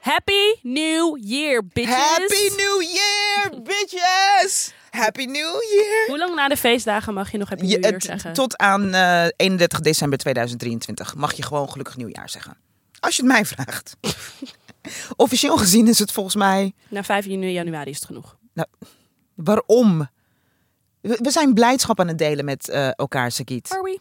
Happy New Year, bitches. Happy New Year, bitches! Happy New Year! Hoe lang na de feestdagen mag je nog Happy Je- New Year het- zeggen? tot aan eh, 31 december 2023 mag je gewoon gelukkig nieuwjaar zeggen. Als je het mij vraagt. Officieel gezien is het volgens mij... Na 5 janu- januari is het genoeg. Waarom? We we zijn blijdschap aan het delen met eh, elkaar, Sagiet. Are we?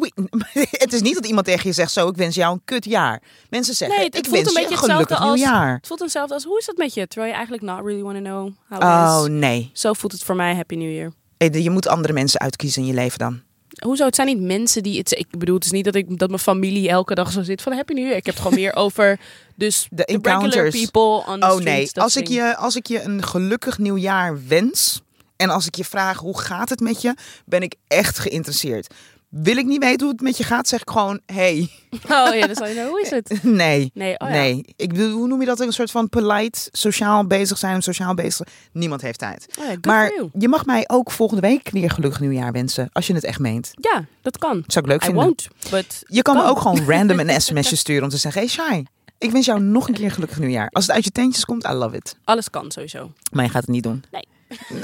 Oei, het is niet dat iemand tegen je zegt zo, ik wens jou een kut jaar. Mensen zeggen, Nee, het ik voelt wens een je beetje een hetzelfde gelukkig als- nieuwjaar. Het voelt hetzelfde als hoe is dat met je? Terwijl je eigenlijk not really want to know how it Oh is. nee, Zo voelt het voor mij Happy New Year. Eh, je moet andere mensen uitkiezen in je leven dan. Hoezo? Het zijn niet mensen die... Het, ik bedoel, het is niet dat, ik, dat mijn familie elke dag zo zit van Happy New Year. Ik heb het gewoon meer over dus De the regular encounters. people on the Oh streets. nee, dat als ik, ding. je, als ik je een gelukkig nieuwjaar wens en als ik je vraag hoe gaat het met je, ben ik echt geïnteresseerd. Wil ik niet weten hoe het met je gaat, zeg ik gewoon, hey, Oh ja, dan zal je nou, hoe is het? nee. Nee, oh ja. Nee, ik bedoel, hoe noem je dat? Een soort van polite, sociaal bezig zijn, sociaal bezig. zijn. Niemand heeft tijd. Oh ja, good maar for you. je mag mij ook volgende week weer gelukkig nieuwjaar wensen, als je het echt meent. Ja, dat kan. Zou ik leuk I vinden. won't, but... Je kan me Kan. ook gewoon random een sms'je sturen om te zeggen: Hey Shai, ik wens jou nog een keer een gelukkig nieuwjaar. Als het uit je tentjes komt, I love it. Alles kan sowieso. Maar je gaat het niet doen. Nee. Nee.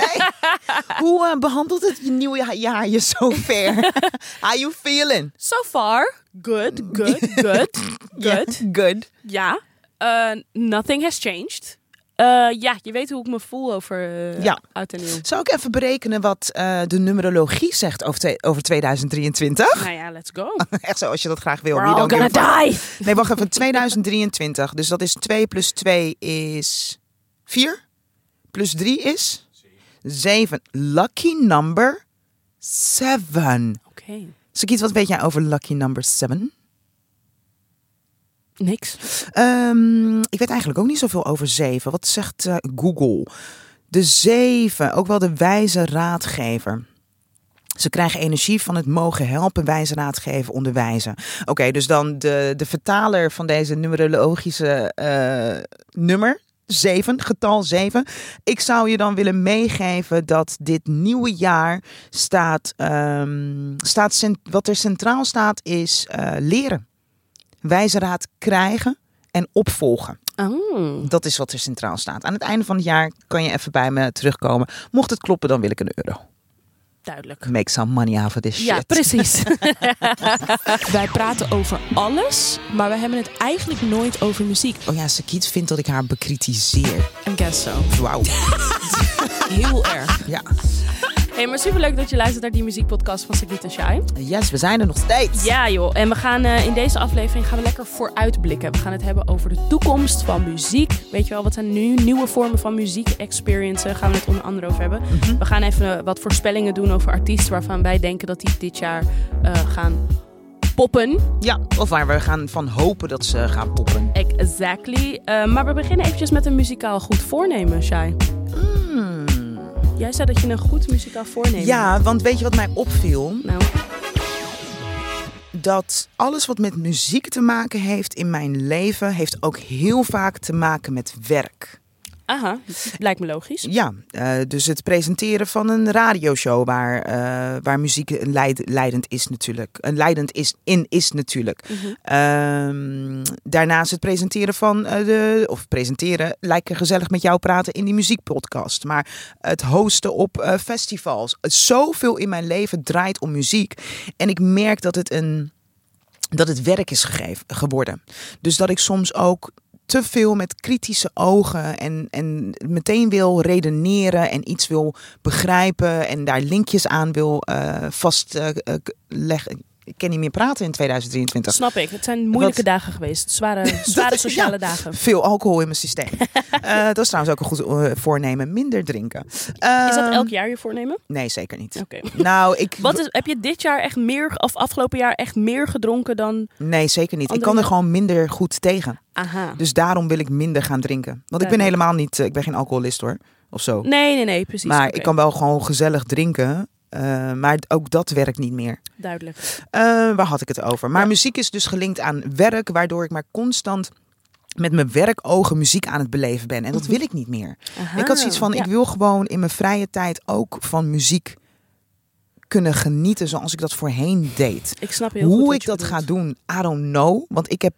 Hoe eh, behandelt het je nieuwe ja- jaar je zover? How you feeling? So far, good, good, good, good. Yeah, good. Ja, eh, nothing has changed. Eh, ja, je weet hoe ik me voel over eh, Ja. oud en nieuw. Zou ik even berekenen wat eh, de numerologie zegt over, twee- over 2023? Nou ja, let's go. Echt zo, als je dat graag wil. We're we all don't gonna give a fuck. die. Nee, wacht even. 2023. Dus dat is 2 plus 2 is 4. Plus 3 is 7. Lucky number 7. Oké, Sakiet, wat weet jij over lucky number 7? niks. Ehm, ik weet eigenlijk ook niet zoveel over 7. Wat zegt eh, Google? De 7, ook wel de wijze raadgever. Ze krijgen energie van het mogen helpen, wijze raadgeven, onderwijzen. Oké, dus dan de, de vertaler van deze numerologische eh, nummer, 7, getal 7. Ik zou je dan willen meegeven dat dit nieuwe jaar staat, ehm, staat cent- wat er centraal staat is eh, leren. Wijze raad krijgen en opvolgen. Oh. Dat is wat er centraal staat. Aan het einde van het jaar kan je even bij me terugkomen. Mocht het kloppen, dan wil ik een euro. Duidelijk. Make some money out of this shit. Ja, precies. Wij praten over alles, maar we hebben het eigenlijk nooit over muziek. Oh ja, Sakiet vindt dat ik haar bekritiseer. En guess so. Wauw. Heel erg. Ja. Hey, maar superleuk dat je luistert naar die muziekpodcast van Sagit en Shai. Yes, we zijn er nog steeds. Ja joh, en we gaan eh, in deze aflevering gaan we lekker vooruitblikken. We gaan het hebben over de toekomst van muziek. Weet je wel, wat zijn nu nieuwe vormen van muziek experiencen? Gaan we het onder andere over hebben. Mhm. We gaan even eh, wat voorspellingen doen over artiesten waarvan wij denken dat die dit jaar eh, gaan poppen. Ja, of waar we gaan van hopen dat ze gaan poppen. Exactly. Eh, maar we beginnen eventjes met een muzikaal goed voornemen, Shai. Jij zei dat je een goed muzikaal voornemen Ja, want weet je wat mij opviel? hebt. Nou, dat alles wat met muziek te maken heeft in mijn leven, heeft ook heel vaak te maken met werk. aha, lijkt me logisch. Ja, eh, dus het presenteren van een radioshow waar, eh, waar muziek een leid- leidend is natuurlijk. Een leidend is in is natuurlijk. Mhm. Ehm, daarnaast het presenteren van eh, de. Of presenteren, lijkt er gezellig met jou praten in die muziekpodcast. Maar het hosten op eh, festivals. Zoveel in mijn leven draait om muziek. En ik merk dat het een. Dat het werk is gegeven, geworden. Dus dat ik soms ook te veel met kritische ogen en, en meteen wil redeneren en iets wil begrijpen en daar linkjes aan wil eh, vastleggen. ik kan niet meer praten in 2023. Snap ik. Het zijn moeilijke Wat- dagen geweest. Zware, zware sociale dagen. Veel alcohol in mijn systeem. Eh, dat is trouwens ook een goed eh, voornemen. Minder drinken. Is dat Ehm, elk jaar je voornemen? Nee, zeker niet. Oké. Nou, ik... Wat is, heb je dit jaar echt meer, of afgelopen jaar echt meer gedronken dan... Nee, zeker niet. Ik Andere kan er dingen? gewoon minder goed tegen. Aha. Dus daarom wil ik minder gaan drinken. Want ik ben Duidelijk. helemaal niet... eh, ik ben geen alcoholist hoor. Of zo. Nee, nee, nee, precies. maar Oké, ik kan wel gewoon gezellig drinken. eh, maar ook dat werkt niet meer. Duidelijk. Eh, waar had ik het over? Maar Ja. muziek is dus gelinkt aan werk, waardoor ik maar constant met mijn werkogen muziek aan het beleven ben. En dat wil ik niet meer. Aha. Ik had zoiets van, Mhm. Ah, Ja. ik wil gewoon in mijn vrije tijd ook van muziek kunnen genieten zoals ik dat voorheen deed. Ik snap heel goed Hoe wat ik je dat ga bedoelt. doen, I don't know. Want ik heb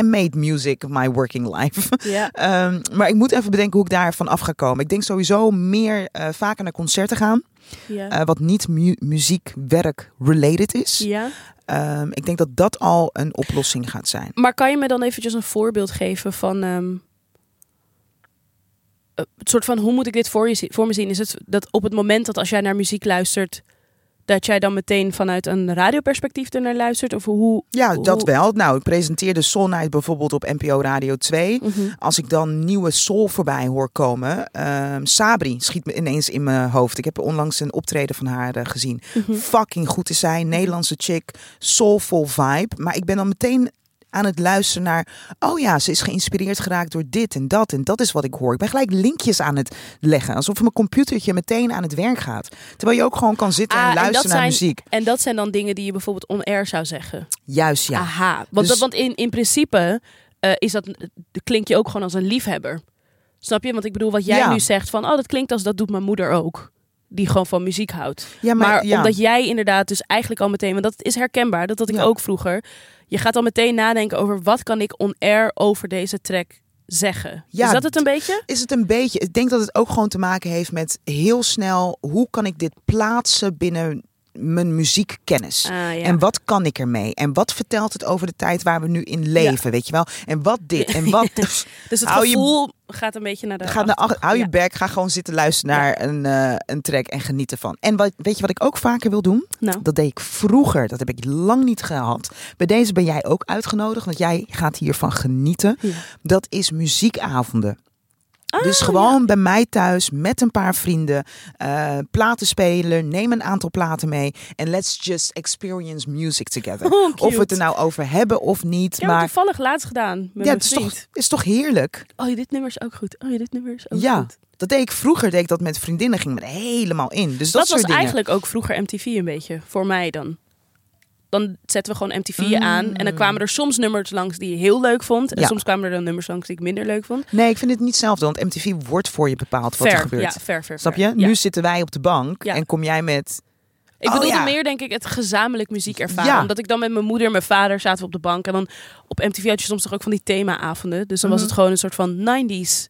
I made music my working life. Ja. Ehm, maar ik moet even bedenken hoe ik daarvan af ga komen. Ik denk sowieso meer eh, vaker naar concerten gaan. Ja. eh, wat niet mu- muziekwerk related is. ja. Ehm, ik denk dat dat al een oplossing gaat zijn. Maar kan je me dan eventjes een voorbeeld geven van... ehm, eh, het soort van, hoe moet ik dit voor, je, zi- voor me zien? Is het dat op het moment dat als jij naar muziek luistert... dat jij dan meteen vanuit een radioperspectief ernaar luistert? Of hoe... Ja, dat Hoe- wel. Nou, ik presenteerde Soul Night bijvoorbeeld op NPO Radio 2. Als ik dan nieuwe soul voorbij hoor komen. ehm, Sabri schiet me ineens in mijn hoofd. Ik heb onlangs een optreden van haar eh, gezien. Mhm. Fucking goed is zij. Nederlandse chick. Soulful vibe. Maar ik ben dan meteen aan het luisteren naar... Oh ja, ze is geïnspireerd geraakt door dit en dat. En dat is wat ik hoor. Ik ben gelijk linkjes aan het leggen. Alsof mijn computertje meteen aan het werk gaat. Terwijl je ook gewoon kan zitten Ah, en en luisteren dat naar zijn- muziek. En dat zijn dan dingen die je bijvoorbeeld on-air zou zeggen. Juist ja. Aha. Want, Dus- want in, in principe eh, is dat, klink je ook gewoon als een liefhebber. Snap je? Want ik bedoel, wat jij Ja. nu zegt van... Oh, dat klinkt als dat doet mijn moeder ook. Die gewoon van muziek houdt. ja Maar, ja. omdat jij inderdaad dus eigenlijk al meteen... Want dat is herkenbaar, dat had ik Ja. ook vroeger. Je gaat al meteen nadenken over wat kan ik on-air over deze track zeggen. Ja, is dat het een beetje? is het een beetje. Ik denk dat het ook gewoon te maken heeft met heel snel hoe kan ik dit plaatsen binnen mijn muziekkennis. Ah, ja. En wat kan ik ermee? En wat vertelt het over de tijd waar we nu in leven, weet je wel? En wat dit en wat. Pff, dus het hou je- gevoel gaat een beetje naar de... Ga naar, ach- hou je Ja. bek, ga gewoon zitten luisteren naar een, eh, een track en geniet ervan. En wat, weet je wat ik ook vaker wil doen? Nou, Dat deed ik vroeger, dat heb ik lang niet gehad. Bij deze ben jij ook uitgenodigd, want jij gaat hiervan genieten. ja. Dat is muziekavonden. Ah, Dus gewoon bij mij thuis met een paar vrienden. eh platen spelen. Neem een aantal platen mee. En let's just experience music together. Oh, of we het cute. er nou over hebben of Ik niet. heb het maar toevallig laatst gedaan met ja, mijn het is vriend. toch, is toch heerlijk? Oh, dit nummer is ook goed. Oh, dit nummer is ook Ja. goed. Dat deed ik vroeger. Deed ik dat met vriendinnen. Ging ik er helemaal in. Dus dat, Dat, soort was dingen. eigenlijk ook vroeger MTV een beetje, voor mij dan. Dan zetten we gewoon MTV aan en dan kwamen er soms nummers langs die je heel leuk vond. En Hmm. Ja. soms kwamen er dan nummers langs die ik minder leuk vond. Nee, ik vind het niet hetzelfde. Want MTV wordt voor je bepaald wat er Ver, gebeurt. ja, ver, ver. Snap je? ver. Ja. Nu zitten wij op de bank. Ja. En kom jij met... Ik Oh, bedoelde ja. meer, denk ik, het gezamenlijk muziek ervaren. Ja. Omdat ik dan met mijn moeder en mijn vader zaten we op de bank. En dan op MTV had je soms toch ook van die themaavonden. Dus dan Mhm. was het gewoon een soort van 90s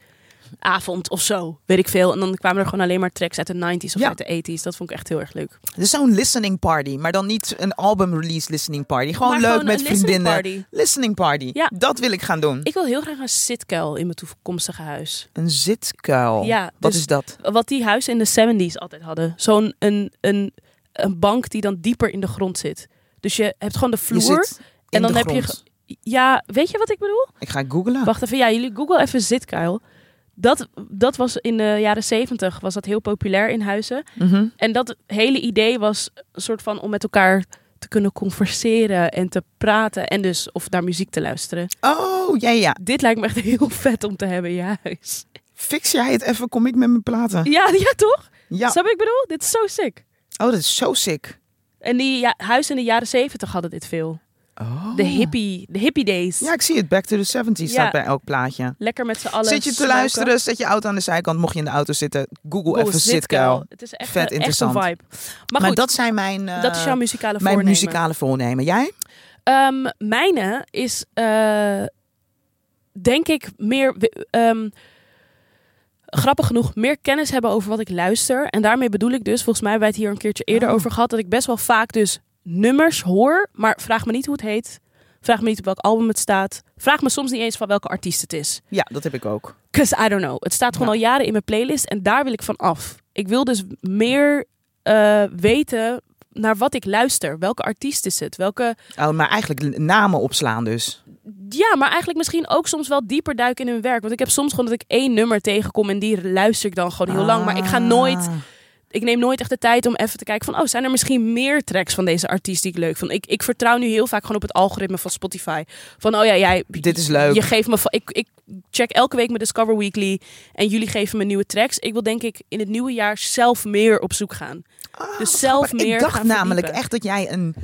avond of zo. Weet ik veel. En dan kwamen er gewoon alleen maar tracks uit de 90s of Ja. uit de 80s. Dat vond ik echt heel erg leuk. Dus zo'n listening party. Maar dan niet een album release listening party. Gewoon Maar leuk gewoon met een listening vriendinnen. party. Listening party. Ja. Dat wil ik gaan doen. Ik wil heel graag een sitkuil in mijn toekomstige huis. Een zitkuil. Ja, Oh, Wat dus- is dat? Wat die huizen in de 70s altijd hadden. Zo'n een, een, een bank die dan dieper in de grond zit. Dus je hebt gewoon de Je vloer. zit en in dan de heb je grond. Ja, weet je wat ik bedoel? Ik ga googlen. Wacht even, ja, jullie Google even zitkuil. Dat, dat was in de jaren 70 was dat heel populair in huizen. Mhm. En dat hele idee was een soort van om met elkaar te kunnen converseren en te praten. En dus of naar muziek te luisteren. Oh, ja, ja. Dit lijkt me echt heel vet om te hebben in je huis. Fix jij het even, kom ik met mijn platen. Ja, ja toch? Ja. Snap je wat ik bedoel? Dit is zo sick. Oh, dat is zo sick. En die ja, huizen in de jaren zeventig hadden dit veel. Oh. De hippie, de hippie days. Ja, ik zie het. Back to the 70s Ja. staat bij elk plaatje. Lekker met z'n allen. zit je te smoken. luisteren, zet je auto aan de zijkant. Mocht je in de auto zitten, google Cool, even zitkuil. zitkuil. Het is echt, Vet een, echt een interessant. vibe. Maar, Maar, goed, dat, dat zijn mijn, eh, is jouw muzikale mijn voornemen. muzikale voornemen. Jij? Ehm, mijne is, eh, denk ik, meer... ehm, grappig genoeg, meer kennis hebben over wat ik luister. En daarmee bedoel ik dus, volgens mij hebben wij het hier een keertje eerder Oh. over gehad... dat ik best wel vaak dus nummers hoor, maar vraag me niet hoe het heet. Vraag me niet op welk album het staat. Vraag me soms niet eens van welke artiest het is. Ja, dat heb ik ook. Cause I don't know. Het staat gewoon al jaren in mijn playlist en daar wil ik van af. Ik wil dus meer eh, weten naar wat ik luister. Welke artiest is het? Welke... Oh, maar eigenlijk namen opslaan dus. Ja, maar eigenlijk misschien ook soms wel dieper duiken in hun werk. Want ik heb soms gewoon dat ik één nummer tegenkom en Oh, die luister ik dan gewoon heel lang. Maar ik ga nooit... Ah. Ik neem nooit echt de tijd om even te kijken van... Oh, zijn er misschien meer tracks van deze artiest die ik leuk vond? Ik, ik vertrouw nu heel vaak gewoon op het algoritme van Spotify. Van, oh ja, jij... Dit is leuk. Je geeft me van, ik, ik check elke week mijn Discover Weekly en jullie geven me nieuwe tracks. Ik wil denk ik in het nieuwe jaar zelf meer op zoek gaan. Ah, dus zelf Maar meer Ik dacht gaan namelijk verdiepen. echt dat jij een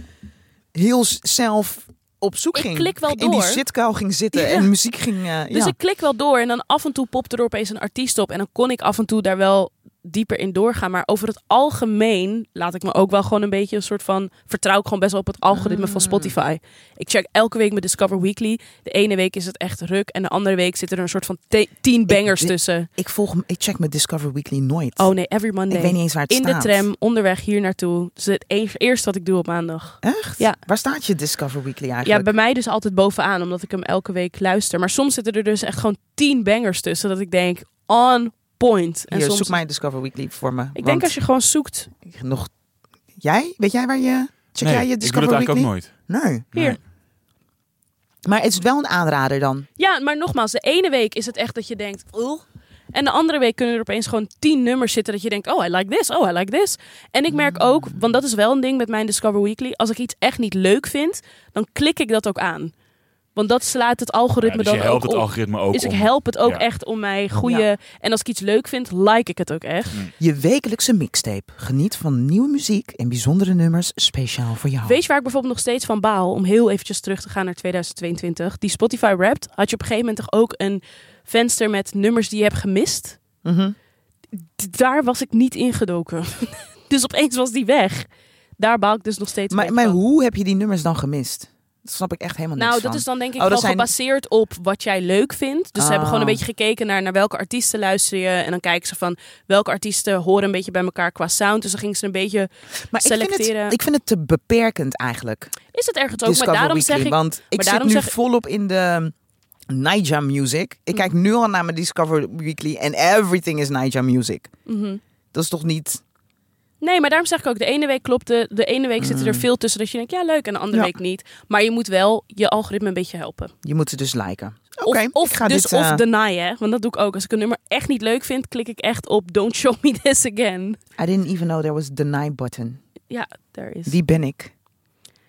heel s- zelf op zoek Ik ging. klik wel In die door. zitkuil ging zitten Ja. en muziek ging. eh, Dus ja. ik klik wel door en dan af en toe popt er opeens een artiest op en dan kon ik af en toe daar wel dieper in doorgaan. Maar over het algemeen laat ik me ook wel gewoon een beetje een soort van. Vertrouw ik gewoon best wel op het algoritme Ah. van Spotify. Ik check elke week mijn Discover Weekly. De ene week is het echt ruk. En de andere week zitten er een soort van te- tien bangers ik- tussen. Ik, volg, ik check mijn Discover Weekly nooit. Oh nee, every ik Monday. weet niet eens waar het in de staat. tram, onderweg hier naartoe. Dus het e- eerste wat ik doe op maandag. Echt? Ja. Waar staat je Discover Weekly Ja, eigenlijk? bij mij dus altijd bovenaan, omdat ik hem elke week luister. Maar soms zitten er dus echt gewoon tien bangers tussen. Dat ik denk, on point. En Hier, soms, zoek mijn Discover Weekly voor me. ik denk als je gewoon zoekt. je... Nog... Jij? Weet jij waar je... Check jij je ik doe dat Discover eigenlijk ook Weekly? nooit. Nee. Hier. Nee. Maar het is wel een aanrader dan. Ja, maar nogmaals, de ene week is het echt dat je denkt, "Ugh." En de andere week kunnen er opeens gewoon tien nummers zitten dat je denkt, oh, I like this, oh, I like this. En ik merk ook, want dat is wel een ding met mijn Discover Weekly, als ik iets echt niet leuk vind, dan klik ik dat ook aan. Want dat slaat het algoritme Ja, dus dan je helpt ook het op. algoritme ook dus ik om- help het ook Ja. echt om mij goede... Ja. En als ik iets leuk vind, like ik het ook echt. Mm. Je wekelijkse mixtape. Geniet van nieuwe muziek en bijzondere nummers speciaal voor jou. Weet je waar ik bijvoorbeeld nog steeds van baal? Om heel eventjes terug te gaan naar 2022. Die Spotify Wrapped had je op een gegeven moment toch ook een venster met nummers die je hebt gemist? Mhm. D- daar was ik niet ingedoken. dus opeens was die weg. Daar baal ik dus nog steeds Maar, weg maar van. hoe heb je die nummers dan gemist? Dat snap ik echt helemaal niet. Nou, dat is dan denk ik Oh, dat wel zijn- gebaseerd op wat jij leuk vindt. Dus ze hebben gewoon een Ah. beetje gekeken naar, naar welke artiesten luister je. En dan kijken ze van welke artiesten horen een beetje bij elkaar qua sound. Dus dan gingen ze een beetje... maar Ik vind, selecteren. het, ik vind het te beperkend eigenlijk. Is het ergens ook? Discover maar daarom Weekly. zeg ik... want ik maar zit daarom nu zeg ik- volop in de Nija Music. Ik kijk nu al naar mijn Discover Weekly en everything is Nija Music. Mhm. Dat is toch niet... Nee, maar daarom zeg ik ook, de ene week klopt, de, de ene week zitten er veel tussen dat je denkt, ja leuk, en de andere Mm. Ja. week niet. Maar je moet wel je algoritme een beetje helpen. Je moet ze dus liken. Oké, Of, of, ik ga dus dit... of eh, deny, hè. Want dat doe ik ook. Als ik een nummer echt niet leuk vind, klik ik echt op don't show me this again. I didn't even know there was a deny button. Ja, daar is. Die ben ik.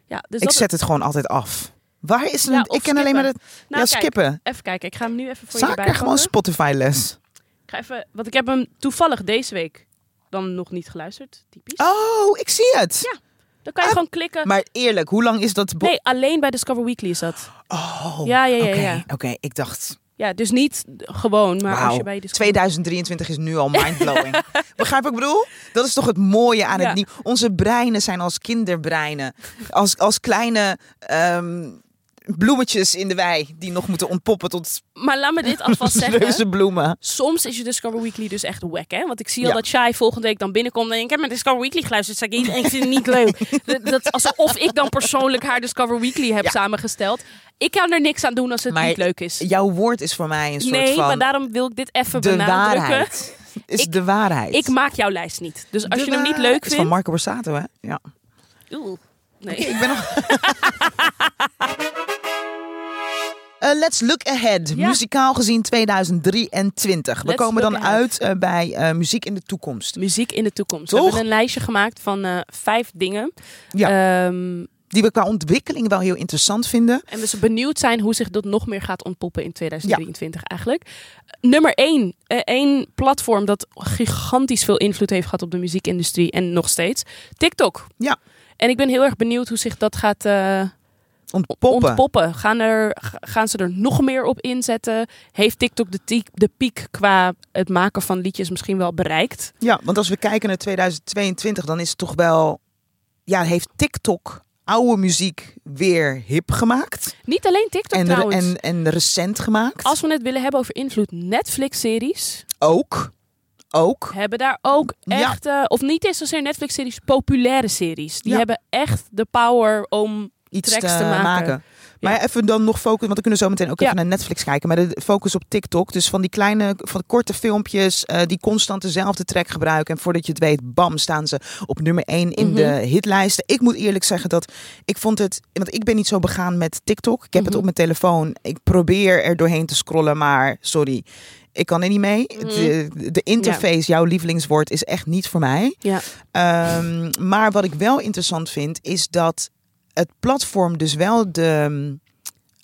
Ja, dus ik dat, zet het gewoon altijd af. Waar is een... Ja, ik of ken alleen maar dat... nou, ja, kijk, skippen. even kijken, ik ga hem nu even voor je Zaak erbij er gewoon pakken. Spotify les. Ik ga even, want ik heb hem toevallig deze week dan nog niet geluisterd, typisch. Oh, ik zie het. Ja. Dan kan je Ah, gewoon klikken. Maar eerlijk, hoe lang is dat... bo- Nee, alleen bij Discover Weekly is dat. Oh, Ja, ja, ja, oké, ja. Oké, ik dacht... Ja, dus niet gewoon, maar als Wauw, je bij Discover... 2023 is nu al mindblowing. Begrijp wat ik bedoel? Dat is toch het mooie aan Ja. het nieuw. Onze breinen zijn als kinderbreinen. Als, als kleine ehm, bloemetjes in de wei die nog moeten ontpoppen tot Maar laat me dit alvast zeggen. reuze bloemen. Soms is je Discover Weekly dus echt wack, hè? Want ik zie al Ja. dat Shai volgende week dan binnenkomt en denkt, ik heb mijn Discover Weekly geluisterd, zei ik, en ik vind het niet leuk. Dat, dat, alsof ik dan persoonlijk haar Discover Weekly heb Ja. samengesteld. Ik kan er niks aan doen als het Maar niet leuk is. Jouw woord is voor mij een soort Nee, van maar daarom wil ik dit even de benadrukken. waarheid. Is Ik- de waarheid. Ik maak jouw lijst niet. Dus als De je hem niet waarheid. leuk Is van vindt... Marco Borsato, hè? Ja. Oeh, nee. Ik ben nog. Eh, let's look ahead. Ja. Muzikaal gezien 2023. We Let's komen look dan ahead. uit eh, bij eh, muziek in de toekomst. Muziek in de toekomst. Toch? We hebben een lijstje gemaakt van eh, vijf dingen. Ja. Ehm, Die we qua ontwikkeling wel heel interessant vinden. En we zijn benieuwd zijn hoe zich dat nog meer gaat ontpoppen in 2023 eigenlijk. Nummer één. eh, één platform dat gigantisch veel invloed heeft gehad op de muziekindustrie en nog steeds. TikTok. Ja. En ik ben heel erg benieuwd hoe zich dat gaat eh, Ontpoppen. ontpoppen. Gaan, er, g- gaan ze er nog meer op inzetten? Heeft TikTok de, tie- de piek qua het maken van liedjes misschien wel bereikt? Ja, want als we kijken naar 2022, dan is het toch wel. Ja, heeft TikTok oude muziek weer hip gemaakt. Niet alleen TikTok En, re- trouwens. en, en recent gemaakt. Als we het willen hebben over invloed, Netflix-series. Ook. Ook. hebben daar ook Ja. echt, eh, of niet eens zozeer Netflix-series, populaire series. Die Ja. hebben echt de power om. iets te, tracks te maken. maken. Maar Ja. even dan nog focus, want we kunnen zo meteen ook Ja. even naar Netflix kijken. Maar de focus op TikTok, dus van die kleine, van de korte filmpjes eh, die constant dezelfde track gebruiken. En voordat je het weet, bam, staan ze op nummer 1 in de Mhm. hitlijsten. Ik moet eerlijk zeggen dat ik vond het, want ik ben niet zo begaan met TikTok. Ik heb het Mhm. op mijn telefoon. Ik probeer er doorheen te scrollen, maar sorry. Ik kan er niet mee. Mhm. De, eh, de interface, jouw lievelingswoord, is echt niet voor mij. Ja. Ehm, maar wat ik wel interessant vind, is dat het platform dus wel de,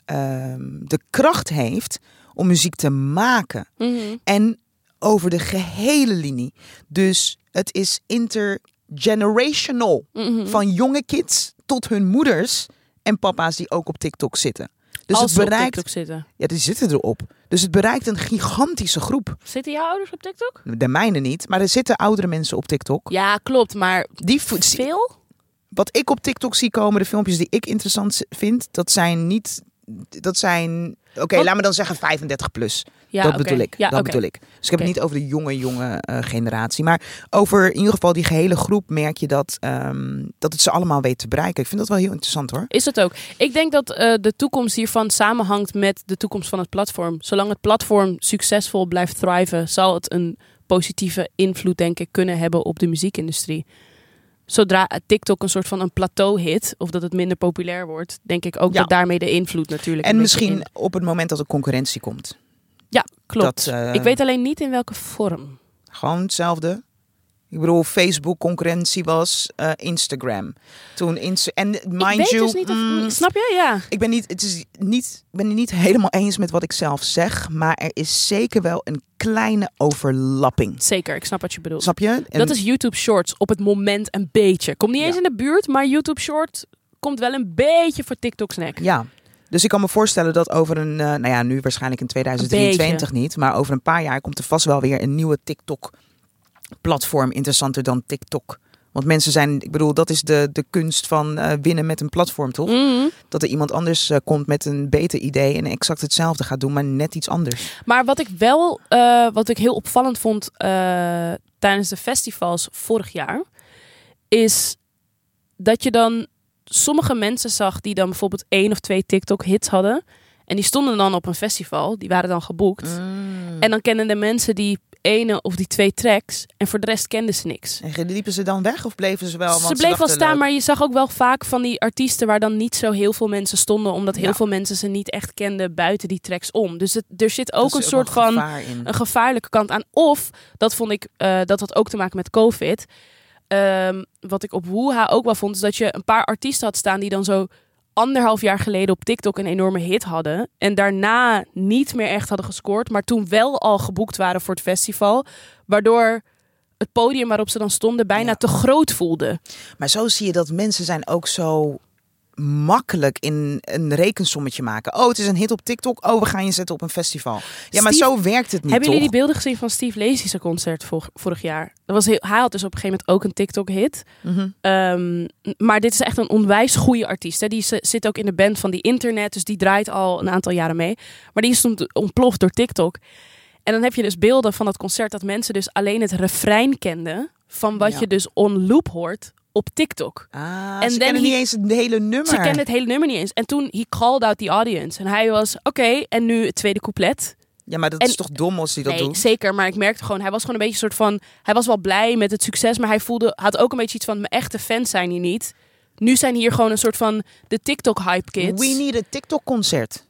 ehm, de kracht heeft om muziek te maken. Mhm, En over de gehele linie. Dus het is mhm. intergenerational. Van jonge kids tot hun moeders en papa's die ook op TikTok zitten. Dus Dus als het ze op bereikt. TikTok zitten. Ja, die zitten erop. Dus het bereikt een gigantische groep. Zitten jouw ouders op TikTok? De mijne niet, maar er zitten oudere mensen op TikTok. Ja, klopt. Maar Die vo- zie- veel? wat ik op TikTok zie komen, de filmpjes die ik interessant z- vind, dat zijn niet. Dat zijn. Oké, Want- laat me dan zeggen 35 plus. Ja, dat oké. bedoel ik. Ja, dat oké. bedoel ik. Dus ik heb Oké. het niet over de jonge, jonge eh, generatie. Maar over in ieder geval die gehele groep merk je dat, ehm, dat het ze allemaal weet te bereiken. Ik vind dat wel heel interessant hoor. Is het ook. Ik denk dat eh, de toekomst hiervan samenhangt met de toekomst van het platform. Zolang het platform succesvol blijft thriven, zal het een positieve invloed, denk ik, kunnen hebben op de muziekindustrie. Zodra eh, TikTok een soort van een plateau hit, of dat het minder populair wordt, denk ik ook Ja. dat daarmee de invloed natuurlijk. En een beetje misschien in- op het moment dat er concurrentie komt. Ja, klopt. Dat, eh, Ik weet alleen niet in welke vorm. Gewoon hetzelfde. Ik bedoel, Facebook concurrentie was eh, Instagram. Toen Insta en mind ik weet you, dus niet of. mm, Snap je? Ja. Ik ben niet, het is niet, ik ben het niet helemaal eens met wat ik zelf zeg, maar er is zeker wel een kleine overlapping. Zeker, ik snap wat je bedoelt. Snap je? En- Dat is YouTube Shorts op het moment een beetje. Komt niet eens Ja. in de buurt, maar YouTube Short komt wel een beetje voor TikTok snack. Ja. Dus ik kan me voorstellen dat over een, eh, nou ja, nu waarschijnlijk in 2023 niet, maar over een paar jaar komt er vast wel weer een nieuwe TikTok-platform interessanter dan TikTok. Want mensen zijn, ik bedoel, dat is de, de kunst van eh, winnen met een platform, toch? Mhm. Dat er iemand anders eh, komt met een beter idee en exact hetzelfde gaat doen, maar net iets anders. Maar wat ik wel, eh, wat ik heel opvallend vond eh, tijdens de festivals vorig jaar, is dat je dan sommige mensen zag die dan bijvoorbeeld één of twee TikTok-hits hadden. En die stonden dan op een festival, die waren dan geboekt. Mm. En dan kenden de mensen die ene of die twee tracks en voor de rest kenden ze niks. En liepen ze dan weg of bleven ze wel? Want ze bleef wel dachten, staan, leuk. maar je zag ook wel vaak van die artiesten waar dan niet zo heel veel mensen stonden, omdat heel Ja. veel mensen ze niet echt kenden buiten die tracks om. Dus het, er zit ook Er een zit soort wel van gevaar in. een gevaarlijke kant aan. Of, dat vond ik, eh, dat had ook te maken met COVID. Ehm, wat ik op Woeha ook wel vond, is dat je een paar artiesten had staan die dan zo anderhalf jaar geleden op TikTok een enorme hit hadden. En daarna niet meer echt hadden gescoord, maar toen wel al geboekt waren voor het festival. Waardoor het podium waarop ze dan stonden bijna Ja. te groot voelde. Maar zo zie je dat mensen zijn ook zo makkelijk in een rekensommetje maken. Oh, het is een hit op TikTok. Oh, we gaan je zetten op een festival. Ja, maar Steve, zo werkt het niet, Hebben toch? jullie die beelden gezien van Steve Lacy zijn concert vor- vorig jaar? Dat was heel, hij had dus op een gegeven moment ook een TikTok-hit. Mhm. Ehm, maar dit is echt een onwijs goede artiest. Hè? Die z- zit ook in de band van die internet. Dus die draait al een aantal jaren mee. Maar die is toen ontploft door TikTok. En dan heb je dus beelden van dat concert dat mensen dus alleen het refrein kenden. Van wat Ja. je dus on loop hoort op TikTok. Ah, En ze then kennen niet he- eens het hele nummer. Ze kenden het hele nummer niet eens. En toen, he called out the audience. En hij was, oké, en nu het tweede couplet. Ja, maar dat en- is toch dom als die dat nee, doet? zeker. Maar ik merkte gewoon, hij was gewoon een beetje een soort van... Hij was wel blij met het succes, maar hij voelde, had ook een beetje iets van... Mijn echte fans zijn hier niet. Nu zijn hier gewoon een soort van de TikTok-hype kids. We need a TikTok-concert.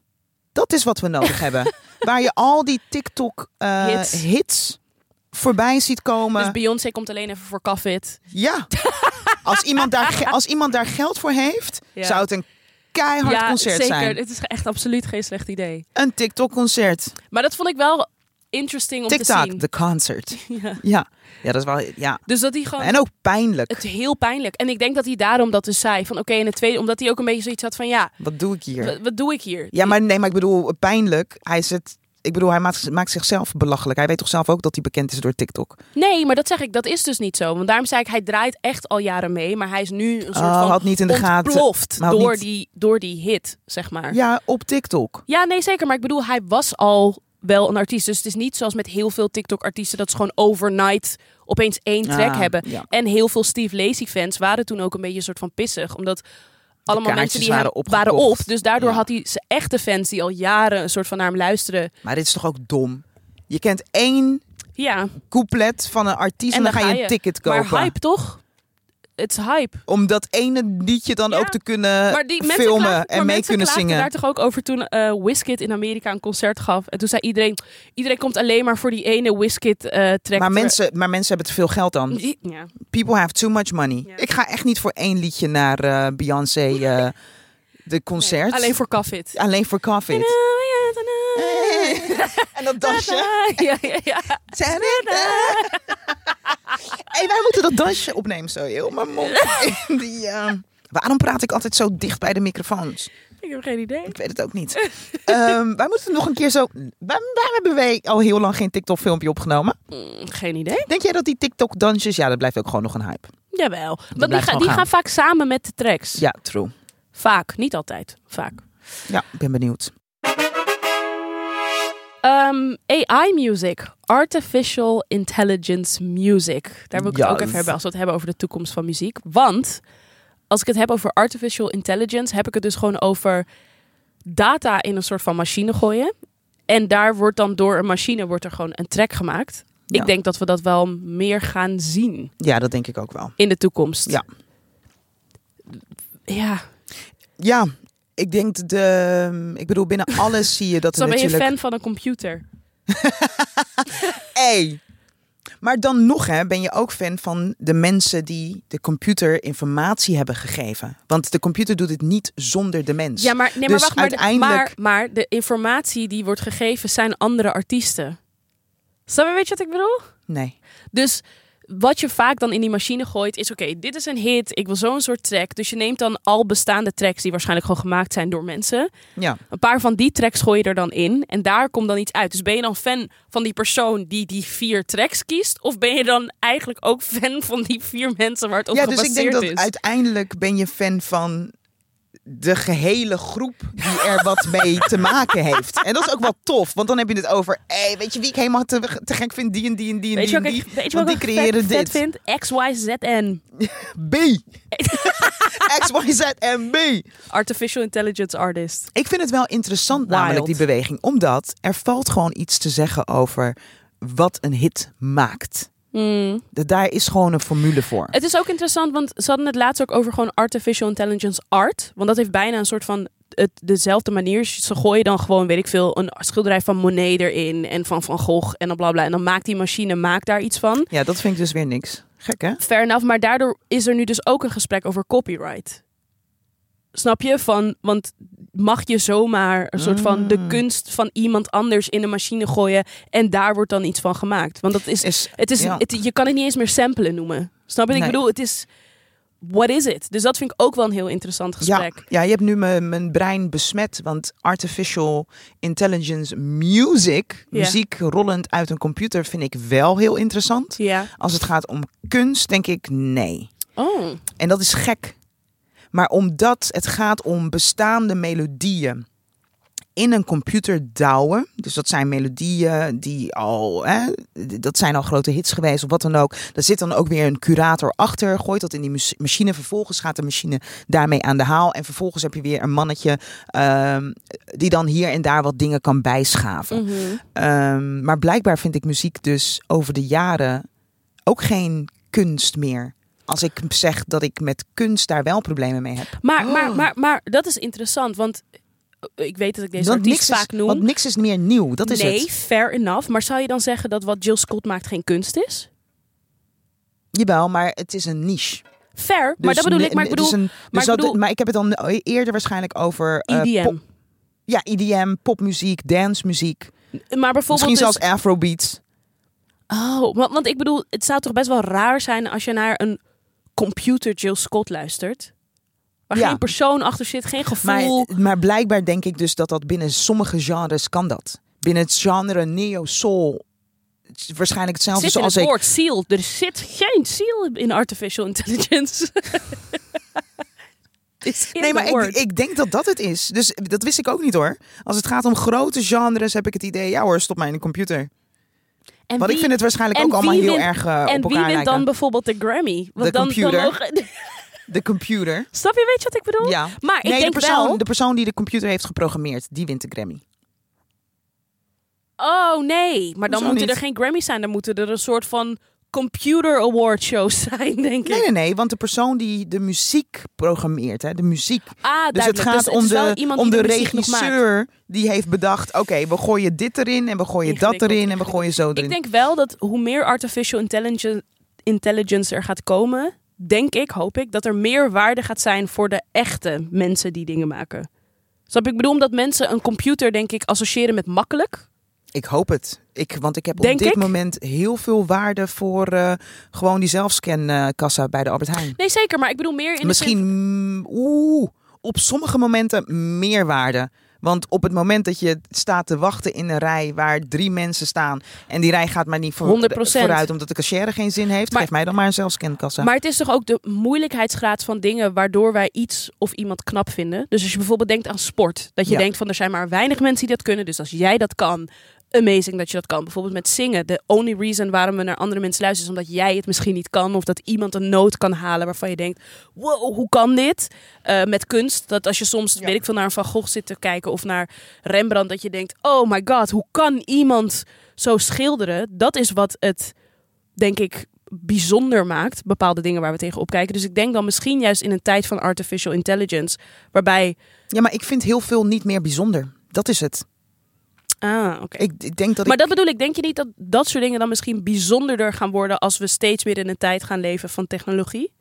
Dat is wat we nodig hebben. Waar je al die Hits. TikTok-hits voorbij ziet komen. Dus Beyoncé komt alleen even voor COVID. Ja. als, iemand daar, ge- als iemand daar geld voor heeft, Ja. zou het een keihard ja, concert zeker. zijn. Het is echt absoluut geen slecht idee. Een TikTok-concert. Maar dat vond ik wel interesting om te TikTok, zien. the concert. Ja. Ja. ja, dat is wel... Ja. Dus dat hij gewoon... En ook pijnlijk. Het heel pijnlijk. En ik denk dat hij daarom dat dus zei. Van oké, en het tweede... Omdat hij ook een beetje zoiets had van... Ja, Wat doe ik hier? wat, wat doe ik hier? Ja, maar nee, maar ik bedoel, pijnlijk. Hij zit... Ik bedoel, hij maakt, maakt zichzelf belachelijk. Hij weet toch zelf ook dat hij bekend is door TikTok. Nee, maar dat zeg ik, dat is dus niet zo. Want daarom zei ik, hij draait echt al jaren mee. Maar hij is nu een soort Oh, van had niet in de gaten. ontploft maar had door, niet- die, door die hit, zeg maar. Ja. Ja, op TikTok. nee, zeker. Maar ik bedoel, hij was al wel een artiest. Dus het is niet zoals met heel veel TikTok-artiesten... dat ze gewoon overnight opeens één track Ah, hebben. ja. En heel veel Steve Lacey-fans waren toen ook een beetje een soort van pissig. Omdat allemaal kaartjes mensen die hem waren opgekocht. waren op. Dus daardoor Ja. had hij zijn echte fans die al jaren een soort van naar hem luisteren. Maar dit is toch ook dom? Je kent één Ja, couplet van een artiest en, dan, ga je een ticket kopen. maar hype toch? Het is hype. Om dat ene liedje dan Ja. ook te kunnen maar die mensen Eh, filmen klaagden- maar en mee mensen kunnen klaagden zingen. daar toch ook over toen eh Wizkid in Amerika een concert gaf. En toen zei iedereen, iedereen komt alleen maar voor die ene Wizkid eh track. Maar mensen, maar mensen hebben te veel geld dan. Ja. People have too much money. Ja. Ik ga echt niet voor één liedje naar eh, Beyoncé eh, de concert. Alleen voor Covid. Alleen voor COVID. en Eh, dat dansje. Ja, ja, ja. hey, wij moeten dat dansje ehm, opnemen zo heel mijn mond. in die, eh, Waarom praat ik altijd zo dicht bij de microfoons? Ik heb geen idee. Ik weet het ook niet. Ehm, wij moeten nog een keer zo. Waar, waar hebben wij al heel lang geen TikTok-filmpje opgenomen? Mm, geen idee. Denk jij dat die TikTok-dansjes. Ja, dat blijft ook gewoon nog een hype. Jawel. Want die, blijft ga- wel die gaan. gaan vaak samen met de tracks. Ja, true. Vaak, niet altijd. Vaak. Ja, ik ben benieuwd. Ehm, AI music, artificial intelligence music. Daar wil ik het ook Yes. even hebben als we het hebben over de toekomst van muziek. Want als ik het heb over artificial intelligence, heb ik het dus gewoon over data in een soort van machine gooien. En daar wordt dan door een machine wordt er gewoon een track gemaakt. Ja. Ik denk dat we dat wel meer gaan zien Ja, dat denk ik ook wel. in de toekomst. Ja. Ja, Ja, ik denk de. Ik bedoel, binnen alles zie je dat zo er ben je natuurlijk. fan van een computer. Hey. Maar dan nog hè, ben je ook fan van de mensen die de computer informatie hebben gegeven. Want de computer doet het niet zonder de mens. Ja, maar, nee, maar Dus wacht, maar, de- uiteindelijk- maar, maar de informatie die wordt gegeven zijn andere artiesten. Snap je, weet je wat ik bedoel? Nee. Dus wat je vaak dan in die machine gooit is, oké, dit is een hit, ik wil zo'n soort track. Dus je neemt dan al bestaande tracks die waarschijnlijk gewoon gemaakt zijn door mensen. Ja. Een paar van die tracks gooi je er dan in en daar komt dan iets uit. Dus ben je dan fan van die persoon die die vier tracks kiest? Of ben je dan eigenlijk ook fan van die vier mensen waar het op Ja, dus ik gebaseerd denk dat is? uiteindelijk ben je fan van de gehele groep die er wat mee te maken heeft. En dat is ook wel tof, want dan heb je het over... Hey, weet je wie ik helemaal te, te gek vind? Die en die en die en Weet je die en wat ik, die. weet je want wat die ik vet, creëren vet dit. vind? X, Y, Z, N. B. X, Y, Z en B. Artificial intelligence artist. Ik vind het wel interessant, Wild. namelijk die beweging. Omdat er valt gewoon iets te zeggen over wat een hit maakt. Dat- Daar is gewoon een formule voor. Hmm. Het is ook interessant, want ze hadden het laatst ook over gewoon artificial intelligence art. Want dat heeft bijna een soort van het, dezelfde manier. Ze gooien dan gewoon, weet ik veel, een schilderij van Monet erin en van Van Gogh en dan bla bla. En dan maakt die machine maakt daar iets van. Ja, dat vind ik dus weer niks. Gek, hè? Fair enough, maar daardoor is er nu dus ook een gesprek over copyright. Snap je? Van, want mag je zomaar een soort van Ah. de kunst van iemand anders in een machine gooien en daar wordt dan iets van gemaakt? Want dat is Is, Het is, ja. het, je kan het niet eens meer samplen noemen. Snap je? wat Nee. Ik bedoel, het is... What is it? Dus dat vind ik ook wel een heel interessant ja, gesprek. ja, je hebt nu mijn, mijn brein besmet, want artificial intelligence music, Ja. muziek rollend uit een computer, vind ik wel heel interessant. Ja. Als het gaat om kunst, denk ik nee. Oh. En dat is gek. Maar omdat het gaat om bestaande melodieën in een computer douwen. Dus dat zijn melodieën die al, hè, dat zijn al grote hits geweest of wat dan ook. Daar zit dan ook weer een curator achter, gooit dat in die mas- machine. Vervolgens gaat de machine daarmee aan de haal. En vervolgens heb je weer een mannetje ehm, die dan hier en daar wat dingen kan bijschaven. Mhm. Ehm, maar blijkbaar vind ik muziek dus over de jaren ook geen kunst meer. Als ik zeg dat ik met kunst daar wel problemen mee heb. Maar, maar, maar, maar dat is interessant, want ik weet dat ik deze want, niks artiest is, vaak noem. want niks is meer nieuw. Dat is nee, het. fair enough. Maar zou je dan zeggen dat wat Jill Scott maakt geen kunst is? Jawel, maar het is een niche. Fair, maar dat Dus bedoel ne- ik. Maar ik het is bedoel, een- dus ik dat- bedoel- E maar ik heb het dan eerder waarschijnlijk over... eh, EDM. pop- ja, EDM, popmuziek, dancemuziek. maar bijvoorbeeld... Misschien zelfs dus- afrobeats. Oh, want, want ik bedoel, het zou toch best wel raar zijn als je naar een computer Jill Scott luistert? Waar Ja. geen persoon achter zit, geen Maar, gevoel. maar blijkbaar denk ik dus dat dat binnen sommige genres kan dat. Binnen het genre neo-soul... het is Waarschijnlijk hetzelfde zit in zoals het dus ik... woord ziel. Er zit geen ziel in artificial intelligence. It's in Nee, maar the ik, word. ik denk dat dat het is. Dus dat wist ik ook niet hoor. Als het gaat om grote genres heb ik het idee, ja hoor, stop mij in de computer. en Want ik vind het waarschijnlijk en ook allemaal wie heel wint- erg eh, en op wie elkaar wint lijken. dan bijvoorbeeld de Grammy? Want De dan, computer. Dan mogen, De computer. snap je, weet je wat ik bedoel? Ja. Maar ik nee, denk de, persoon, wel... de persoon die de computer heeft geprogrammeerd, die wint de Grammy. Oh nee, maar dan Hoezo moeten niet? er geen Grammys zijn. Dan moeten er een soort van computer award shows zijn, denk ik. Nee, nee, nee, want de persoon die de muziek programmeert, hè, de muziek. Ah, Dus het duidelijk. gaat het om is wel de, iemand om die de muziek nog maakt. regisseur die heeft bedacht: oké, we gooien dit erin en we gooien dat Ingewikkeld, erin en we gooien zo erin. Ik denk wel dat hoe meer artificial intelligence, intelligence er gaat komen, denk ik, hoop ik, dat er meer waarde gaat zijn voor de echte mensen die dingen maken. Snap je? ik bedoel, omdat mensen een computer, denk ik, associëren met makkelijk. Ik hoop het. Ik, want ik heb op Denk dit ik? moment heel veel waarde voor eh, gewoon die zelfscankassa bij de Albert Heijn. Nee, zeker, maar ik bedoel meer in de zin- Misschien, mm, oeh, op sommige momenten meerwaarde. Want op het moment dat je staat te wachten in een rij waar drie mensen staan en die rij gaat maar niet voor, 100%. vooruit omdat de cashier geen zin heeft, Maar- geef mij dan maar een zelfscankassa. Maar het is toch ook de moeilijkheidsgraad van dingen waardoor wij iets of iemand knap vinden. Dus als je bijvoorbeeld denkt aan sport, dat je Ja. denkt van er zijn maar weinig mensen die dat kunnen. Dus als jij dat kan, amazing dat je dat kan. Bijvoorbeeld met zingen. De only reason waarom we naar andere mensen luisteren is omdat jij het misschien niet kan. Of dat iemand een noot kan halen waarvan je denkt, wow, hoe kan dit? Eh, met kunst, dat als je soms, weet ik veel, naar een Van Gogh zit te kijken of naar Rembrandt, dat je denkt, oh my god, hoe kan iemand zo schilderen? Dat is wat het, denk ik, bijzonder maakt. Bepaalde dingen waar we tegen opkijken. Dus ik denk dan misschien juist in een tijd van artificial intelligence, waarbij... Ja, maar ik vind heel veel niet meer bijzonder. Dat is het. Ah, oké. Ik, ik denk dat Maar ik... dat bedoel ik, denk je niet dat dat soort dingen dan misschien bijzonderder gaan worden als we steeds meer in een tijd gaan leven van technologie?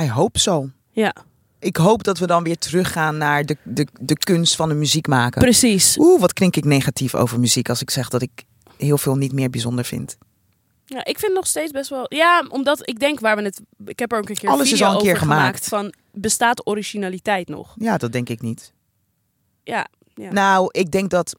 I hope zo. Ja, Ik hoop dat we dan weer teruggaan naar de, de, de kunst van de muziek maken. precies. Oeh, wat klink ik negatief over muziek als ik zeg dat ik heel veel niet meer bijzonder vind. Ja, ik vind het nog steeds best wel. Ja, omdat ik denk waar we het. Ik heb er ook een keer. een Alles is video al een keer over gemaakt. Van bestaat originaliteit nog? Ja, dat denk ik niet. Ja. ja. Nou, ik denk dat.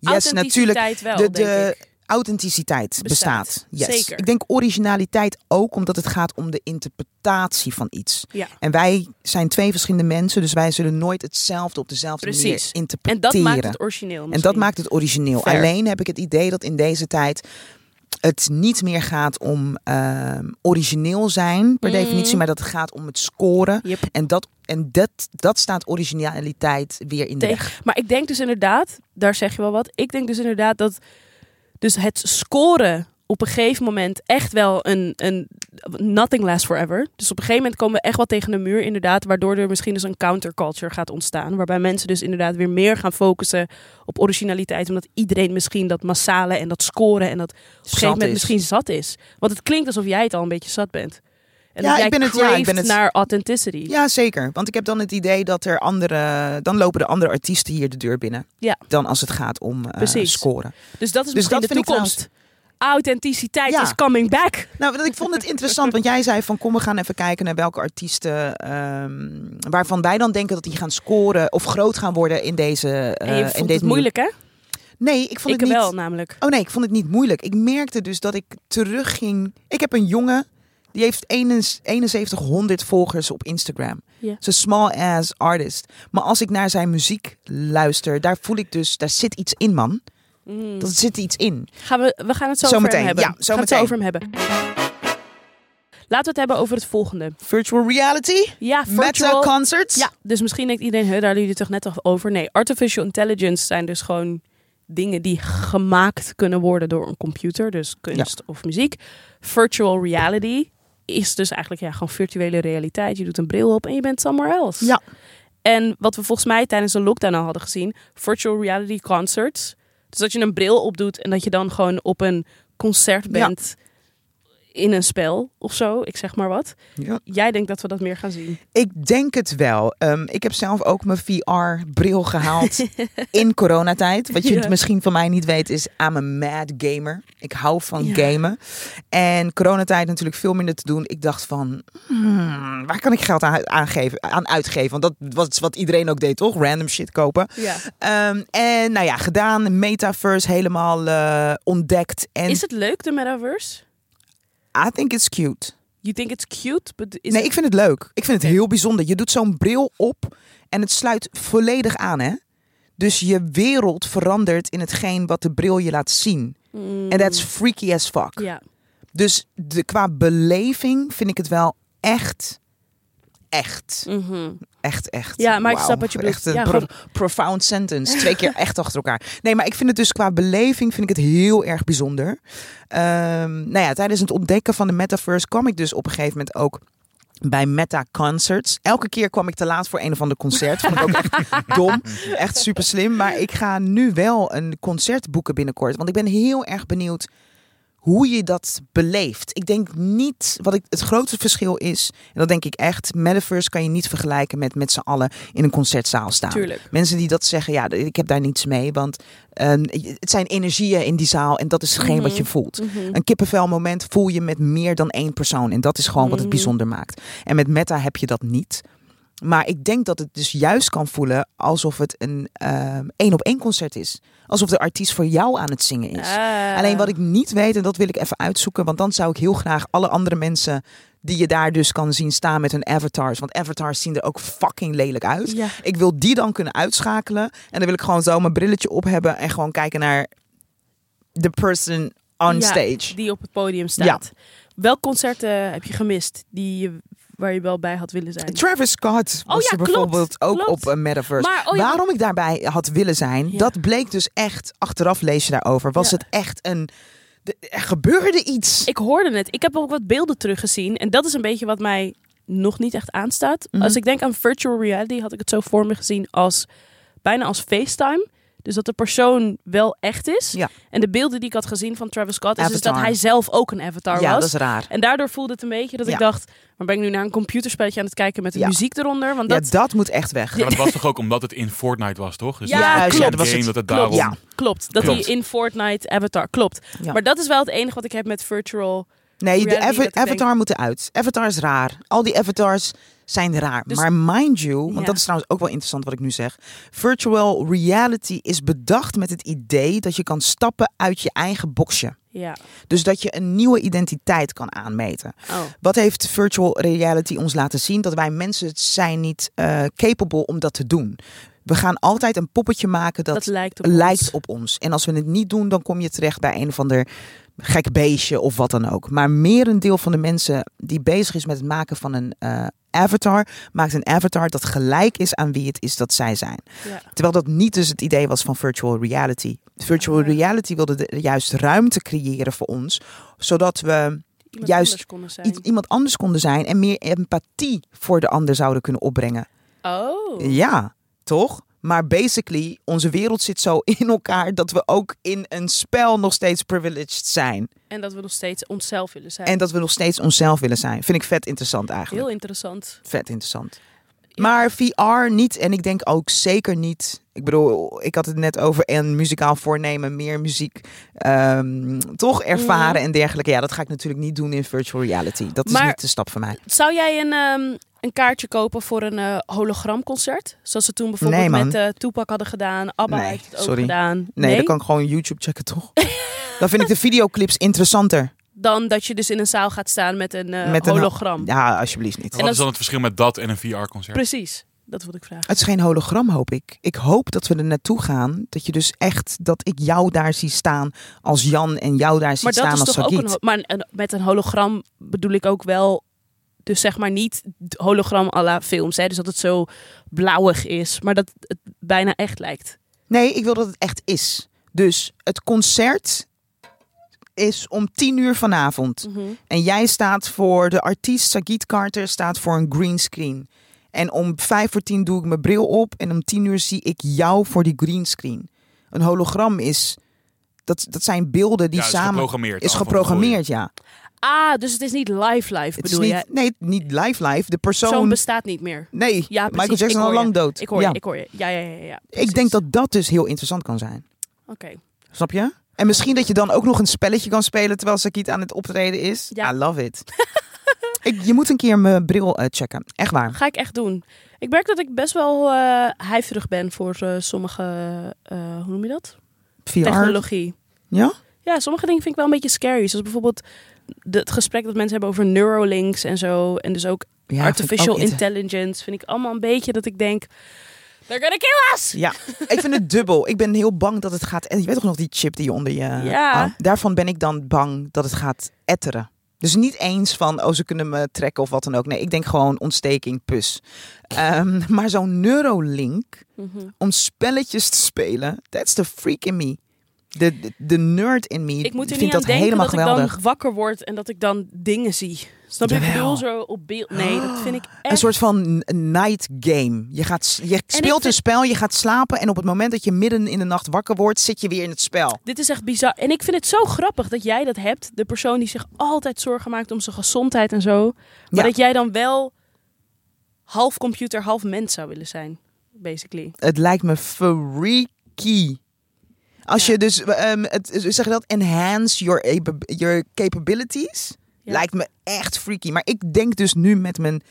Yes, natuurlijk. Authenticiteit wel. de- denk de- ik. Authenticiteit Bestaat. bestaat. Yes. Zeker. Ik denk originaliteit ook omdat het gaat om de interpretatie van iets. Ja. En wij zijn twee verschillende mensen, dus wij zullen nooit hetzelfde op dezelfde Precies. manier interpreteren. En dat maakt het origineel. En misschien. dat maakt het origineel. Fair. Alleen heb ik het idee dat in deze tijd het niet meer gaat om ehm, origineel zijn per Mm. definitie, maar dat het gaat om het scoren. Yep. En, dat, en dat, dat staat originaliteit weer in de Tegen- weg. Maar ik denk dus inderdaad, daar zeg je wel wat. Ik denk dus inderdaad dat dus het scoren op een gegeven moment echt wel een, een nothing lasts forever. Dus op een gegeven moment komen we echt wel tegen de muur inderdaad, waardoor er misschien dus een counterculture gaat ontstaan, waarbij mensen dus inderdaad weer meer gaan focussen op originaliteit, omdat iedereen misschien dat massale en dat scoren en dat op een gegeven Zat moment is. misschien zat is. Want het klinkt alsof jij het al een beetje zat bent. En Ja, dat jij ik ben het- ja, ik craved ben het- naar authenticity. Ja, zeker. Want ik heb dan het idee dat er andere... Dan lopen de andere artiesten hier de deur binnen. Ja. Dan als het gaat om eh, Precies. scoren. Dus dat is Dus misschien dat de vind ik toekomst. Authenticiteit Ja. is coming back. Nou, want ik vond het interessant. Want jij zei van kom, we gaan even kijken naar welke artiesten... ehm, waarvan wij dan denken dat die gaan scoren of groot gaan worden in deze... eh, en je in vond deze het moeilijk, hè? Nee, ik vond Ik het niet... wel, namelijk. Oh nee, ik vond het niet moeilijk. Ik merkte dus dat ik terugging. Ik heb een jongen. Die heeft 7100 volgers op Instagram. Ja. Zo'n small ass artist. Maar als ik naar zijn muziek luister, daar voel ik dus, daar zit iets in, man. Mm. Dat zit iets in. Gaan we, we gaan het zo, Zo over hem meteen, hebben. ja, we zo gaan het zo meteen. over hem hebben. Laten we het hebben over het volgende. Virtual reality, Ja, meta virtual... concerts. Ja, dus misschien denkt iedereen, "Huh, daar jullie het toch net al over. Nee, artificial intelligence zijn dus gewoon dingen die gemaakt kunnen worden door een computer. Dus kunst of muziek. Virtual reality is dus eigenlijk ja, gewoon virtuele realiteit. Je doet een bril op en je bent somewhere else. Ja. En wat we volgens mij tijdens de lockdown al hadden gezien, virtual reality concerts. Dus dat je een bril opdoet en dat je dan gewoon op een concert bent in een spel of zo, ik zeg maar wat. Ja. Jij denkt dat we dat meer gaan zien. Ik denk het wel. Ehm, ik heb zelf ook mijn VR-bril gehaald in coronatijd. Wat je Ja. misschien van mij niet weet is, I'm a mad gamer. Ik hou van Ja. gamen. En coronatijd natuurlijk veel minder te doen. Ik dacht van, hmm, waar kan ik geld aan, aangeven, aan uitgeven? Want dat was wat iedereen ook deed, toch? Random shit kopen. Ja. Ehm, en nou ja, gedaan. Metaverse helemaal eh, ontdekt. En Is het leuk, de metaverse? I think it's cute. You think it's cute, but is nee, it- ik vind het leuk. Ik vind het heel bijzonder. Je doet zo'n bril op en het sluit volledig aan, hè? Dus je wereld verandert in hetgeen wat de bril je laat zien. Mm, En that's freaky as fuck. Ja. Dus de, qua beleving vind ik het wel echt, echt, Mhm. Nou, echt, echt. Ja, maar ik snap Wauw, wat je bedoelt. Echt een Ja, pro- profound sentence. Twee keer echt achter elkaar. Nee, maar ik vind het dus qua beleving vind ik het heel erg bijzonder. Ehm, nou ja, tijdens het ontdekken van de metaverse kwam ik dus op een gegeven moment ook bij Meta Concerts. Elke keer kwam ik te laat voor een of ander concert. Vond ik ook echt dom. Echt super slim. Maar ik ga nu wel een concert boeken binnenkort. Want ik ben heel erg benieuwd hoe je dat beleeft. Ik denk niet, wat ik, het grote verschil is, en dat denk ik echt, Metaverse kan je niet vergelijken met met z'n allen in een concertzaal staan. Tuurlijk. Mensen die dat zeggen, ja, ik heb daar niets mee, want ehm, het zijn energieën in die zaal en dat is geen wat je Mhm. voelt. Mhm. Een kippenvelmoment voel je met meer dan één persoon. En dat is gewoon wat het Mhm. bijzonder maakt. En met Meta heb je dat niet. Maar ik denk dat het dus juist kan voelen alsof het een eh, één op één concert is. Alsof de artiest voor jou aan het zingen is. Ah. Alleen wat ik niet weet, en dat wil ik even uitzoeken, want dan zou ik heel graag alle andere mensen die je daar dus kan zien staan met hun avatars, want avatars zien er ook fucking lelijk uit. Ja. Ik wil die dan kunnen uitschakelen en dan wil ik gewoon zo mijn brilletje op hebben en gewoon kijken naar the person on Ja, stage. Die op het podium staat. Welk concert eh, heb je gemist die je, waar je wel bij had willen zijn? Travis Scott was Oh ja, er klopt, bijvoorbeeld ook klopt. op een metaverse. Maar, oh ja, Waarom ik daarbij had willen zijn, Ja. dat bleek dus echt, achteraf lees je daarover, was Ja. het echt een, de- er gebeurde iets. Ik hoorde het. Ik heb ook wat beelden teruggezien. En dat is een beetje wat mij nog niet echt aanstaat. Mhm. Als ik denk aan virtual reality, had ik het zo voor me gezien als bijna als FaceTime. Dus dat de persoon wel echt is. Ja. En de beelden die ik had gezien van Travis Scott is, dus dat Avatar. hij zelf ook een avatar ja, was. dat is raar. En daardoor voelde het een beetje dat ik Ja. dacht, maar ben ik nu naar een computerspelletje aan het kijken met de Ja. muziek eronder? Want dat, ja, dat moet echt weg. Ja. Maar dat was toch ook omdat het in Fortnite was, toch? Dus Ja, dat was juist, een ja, dat was game het. dat het Klopt. daarom... Ja. klopt. Dat Klopt. hij in Fortnite avatar, klopt. Ja. Maar dat is wel het enige wat ik heb met virtual. Nee, de Reality ava- dat ik denk- avatar moet eruit. Avatar is raar. Al die avatars zijn raar. Dus- maar mind you, want Ja. dat is trouwens ook wel interessant wat ik nu zeg. Virtual reality is bedacht met het idee dat je kan stappen uit je eigen boxje. Ja. Dus dat je een nieuwe identiteit kan aanmeten. Oh. Wat heeft virtual reality ons laten zien? Dat wij mensen zijn niet eh capable om dat te doen. We gaan altijd een poppetje maken dat, Dat, lijkt op lijkt ons. op ons. En als we het niet doen, dan kom je terecht bij een of ander gek beestje of wat dan ook. Maar merendeel van de mensen die bezig is met het maken van een eh, avatar, maakt een avatar dat gelijk is aan wie het is dat zij zijn. Ja. Terwijl dat niet dus het idee was van virtual reality. Virtual Ah. reality wilde de, juist ruimte creëren voor ons, zodat we Iemand Juist anders konden zijn. iets- iemand anders konden zijn en meer empathie voor de ander zouden kunnen opbrengen. Oh. Ja, toch? Maar basically, onze wereld zit zo in elkaar dat we ook in een spel nog steeds privileged zijn. En dat we nog steeds onszelf willen zijn. En dat we nog steeds onszelf willen zijn. Vind ik vet interessant eigenlijk. Heel interessant. Vet interessant. Maar VR niet, en ik denk ook zeker niet. Ik bedoel, ik had het net over en muzikaal voornemen, meer muziek ehm, toch ervaren en dergelijke. Ja, dat ga ik natuurlijk niet doen in virtual reality. Dat is Maar- niet de stap voor mij. Zou jij een, ehm, een kaartje kopen voor een eh, hologramconcert? Zoals ze toen bijvoorbeeld Nee, man. met eh Tupac hadden gedaan. Abba Nee, heeft het ook sorry. gedaan. Nee, dan kan ik gewoon YouTube checken, toch? Dan vind ik de videoclips interessanter. Dan dat je dus in een zaal gaat staan met een eh, Met een ho- hologram. Ja, alsjeblieft niet. Wat dat- is dan het verschil met dat en een VR-concert? Precies. Dat wil ik vragen. Het is geen hologram, hoop ik. Ik hoop dat we er naartoe gaan. Dat je dus echt, dat ik jou daar zie staan als Jan en jou daar zie Maar dat staan is als toch ook een, Sagiet. ho- maar een- met een hologram bedoel ik ook wel, dus zeg maar niet d- hologram à la films, hè? dus dat het zo blauwig is, maar dat het bijna echt lijkt. Nee, ik wil dat het echt is. Dus het concert is om tien uur vanavond. Mhm. En jij staat voor de artiest Sagiet Carter, staat voor een greenscreen. En om vijf voor tien doe ik mijn bril op en om tien uur zie ik jou voor die greenscreen. Een hologram is, dat, dat zijn beelden die ja, is samen... geprogrammeerd. Is al van tevoren. geprogrammeerd, ja. Ah, dus het is niet live-live Het is bedoel niet, je? nee, niet live live. De Zoon persoon bestaat niet meer. Nee, Ja, precies. Michael Ik Jackson hoor al je. lang dood. Ik hoor Ja. je, ik hoor je. Ja, ja, ja. ja Ik denk dat dat dus heel interessant kan zijn. Oké. Snap je? En misschien dat je dan ook nog een spelletje kan spelen terwijl Sakit aan het optreden is. Ja. I love it. ik, je moet een keer mijn bril eh, checken. Echt waar. Ga ik echt doen. Ik merk dat ik best wel eh huiverig ben voor eh, sommige, eh, hoe noem je dat? VR. Technologie. Ja? Ja, sommige dingen vind ik wel een beetje scary. Zoals bijvoorbeeld de- het gesprek dat mensen hebben over Neuralinks en zo. En dus ook ja artificial vind ik ook inter- intelligence. Vind ik allemaal een beetje dat ik denk, they're gonna kill us! Ja, ik vind het dubbel. Ik ben heel bang dat het gaat... En je weet toch nog die chip die je onder je... Ja. Ah, daarvan ben ik dan bang dat het gaat etteren. Dus niet eens van, oh, ze kunnen me trekken of wat dan ook. Nee, ik denk gewoon ontsteking, pus. Ehm, maar zo'n Neuralink... Mhm. om spelletjes te spelen. That's the freak in me. De, de, de nerd in me. Ik moet er niet vindt aan dat denken helemaal dat ik geweldig. dan wakker word en dat ik dan dingen zie. Snap je? Ik Jawel. bedoel zo op beeld. Nee, dat vind ik echt... Een soort van n- night game. Je, gaat, s- je speelt vind- een spel, je gaat slapen. En op het moment dat je midden in de nacht wakker wordt, zit je weer in het spel. Dit is echt bizar. En ik vind het zo grappig dat jij dat hebt. De persoon die zich altijd zorgen maakt om zijn gezondheid en zo. Maar Ja. dat jij dan wel half computer, half mens zou willen zijn. Basically. Het lijkt me freaky. Als Ja. je dus, ehm, het, zeg je dat, enhance your, ab- your capabilities. Ja. Lijkt me echt freaky. Maar ik denk dus nu met mijn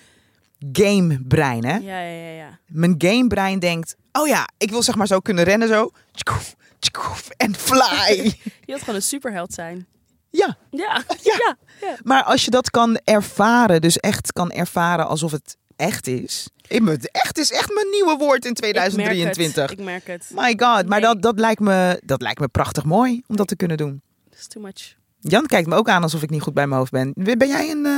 gamebrein, hè? Ja, ja, ja. ja. Mijn gamebrein denkt, oh ja, ik wil zeg maar zo kunnen rennen zo. Tjikoef, tjikoef, En fly. Je wilt gewoon een superheld zijn. ja, Ja. Ja. Ja. ja, maar als je dat kan ervaren, dus echt kan ervaren alsof het echt is. Ik moet- Echt is echt mijn nieuwe woord in Ik merk 2023. het. Ik merk het. My god, maar Nee. dat, dat, lijkt me, dat lijkt me prachtig mooi om dat te kunnen doen. Dat is too much. Jan kijkt me ook aan alsof ik niet goed bij mijn hoofd ben. Ben jij een... eh,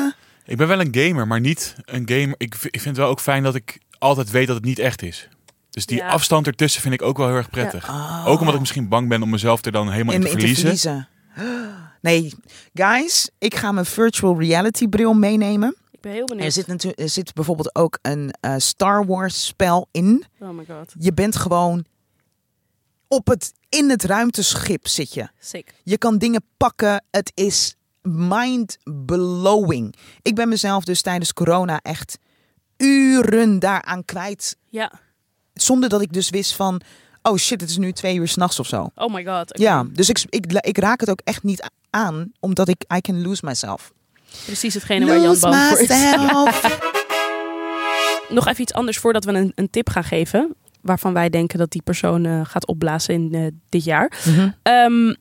Ik ben wel een gamer, maar niet een gamer. Ik, v- ik vind het wel ook fijn dat ik altijd weet dat het niet echt is. Dus die Ja. afstand ertussen vind ik ook wel heel erg prettig. Ook omdat ik misschien bang ben om mezelf er dan helemaal in, in, te in te verliezen. verliezen. Nee, guys, ik ga mijn virtual reality bril meenemen. Ik ben heel benieuwd. Er zit, natu- er zit bijvoorbeeld ook een eh, Star Wars spel in. Oh my god. Je bent gewoon op het, in het ruimteschip zit je. Sick. Je kan dingen pakken. Het is mind-blowing. Ik ben mezelf dus tijdens corona echt uren daaraan kwijt. Ja. Zonder dat ik dus wist van... Oh shit, het is nu twee uur s'nachts of zo. Oh my god. Oké. Ja, dus ik, ik, ik raak het ook echt niet aan, omdat ik I can lose myself. Precies hetgene waar Jan bang voor is. myself. Nog even iets anders voordat we een, een tip gaan geven. Waarvan wij denken dat die persoon eh, gaat opblazen in eh, dit jaar. Mhm. Ehm,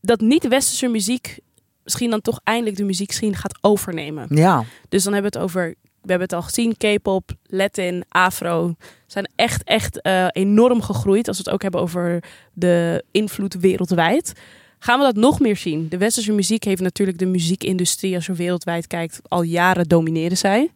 dat niet-westerse muziek misschien dan toch eindelijk de muziek zien gaat overnemen. Ja, Dus dan hebben we het over, we hebben het al gezien, K-pop, Latin, Afro. Zijn echt, echt eh, enorm gegroeid. Als we het ook hebben over de invloed wereldwijd. Gaan we dat nog meer zien? De westerse muziek heeft natuurlijk de muziekindustrie, als je wereldwijd kijkt, al jaren domineren zij.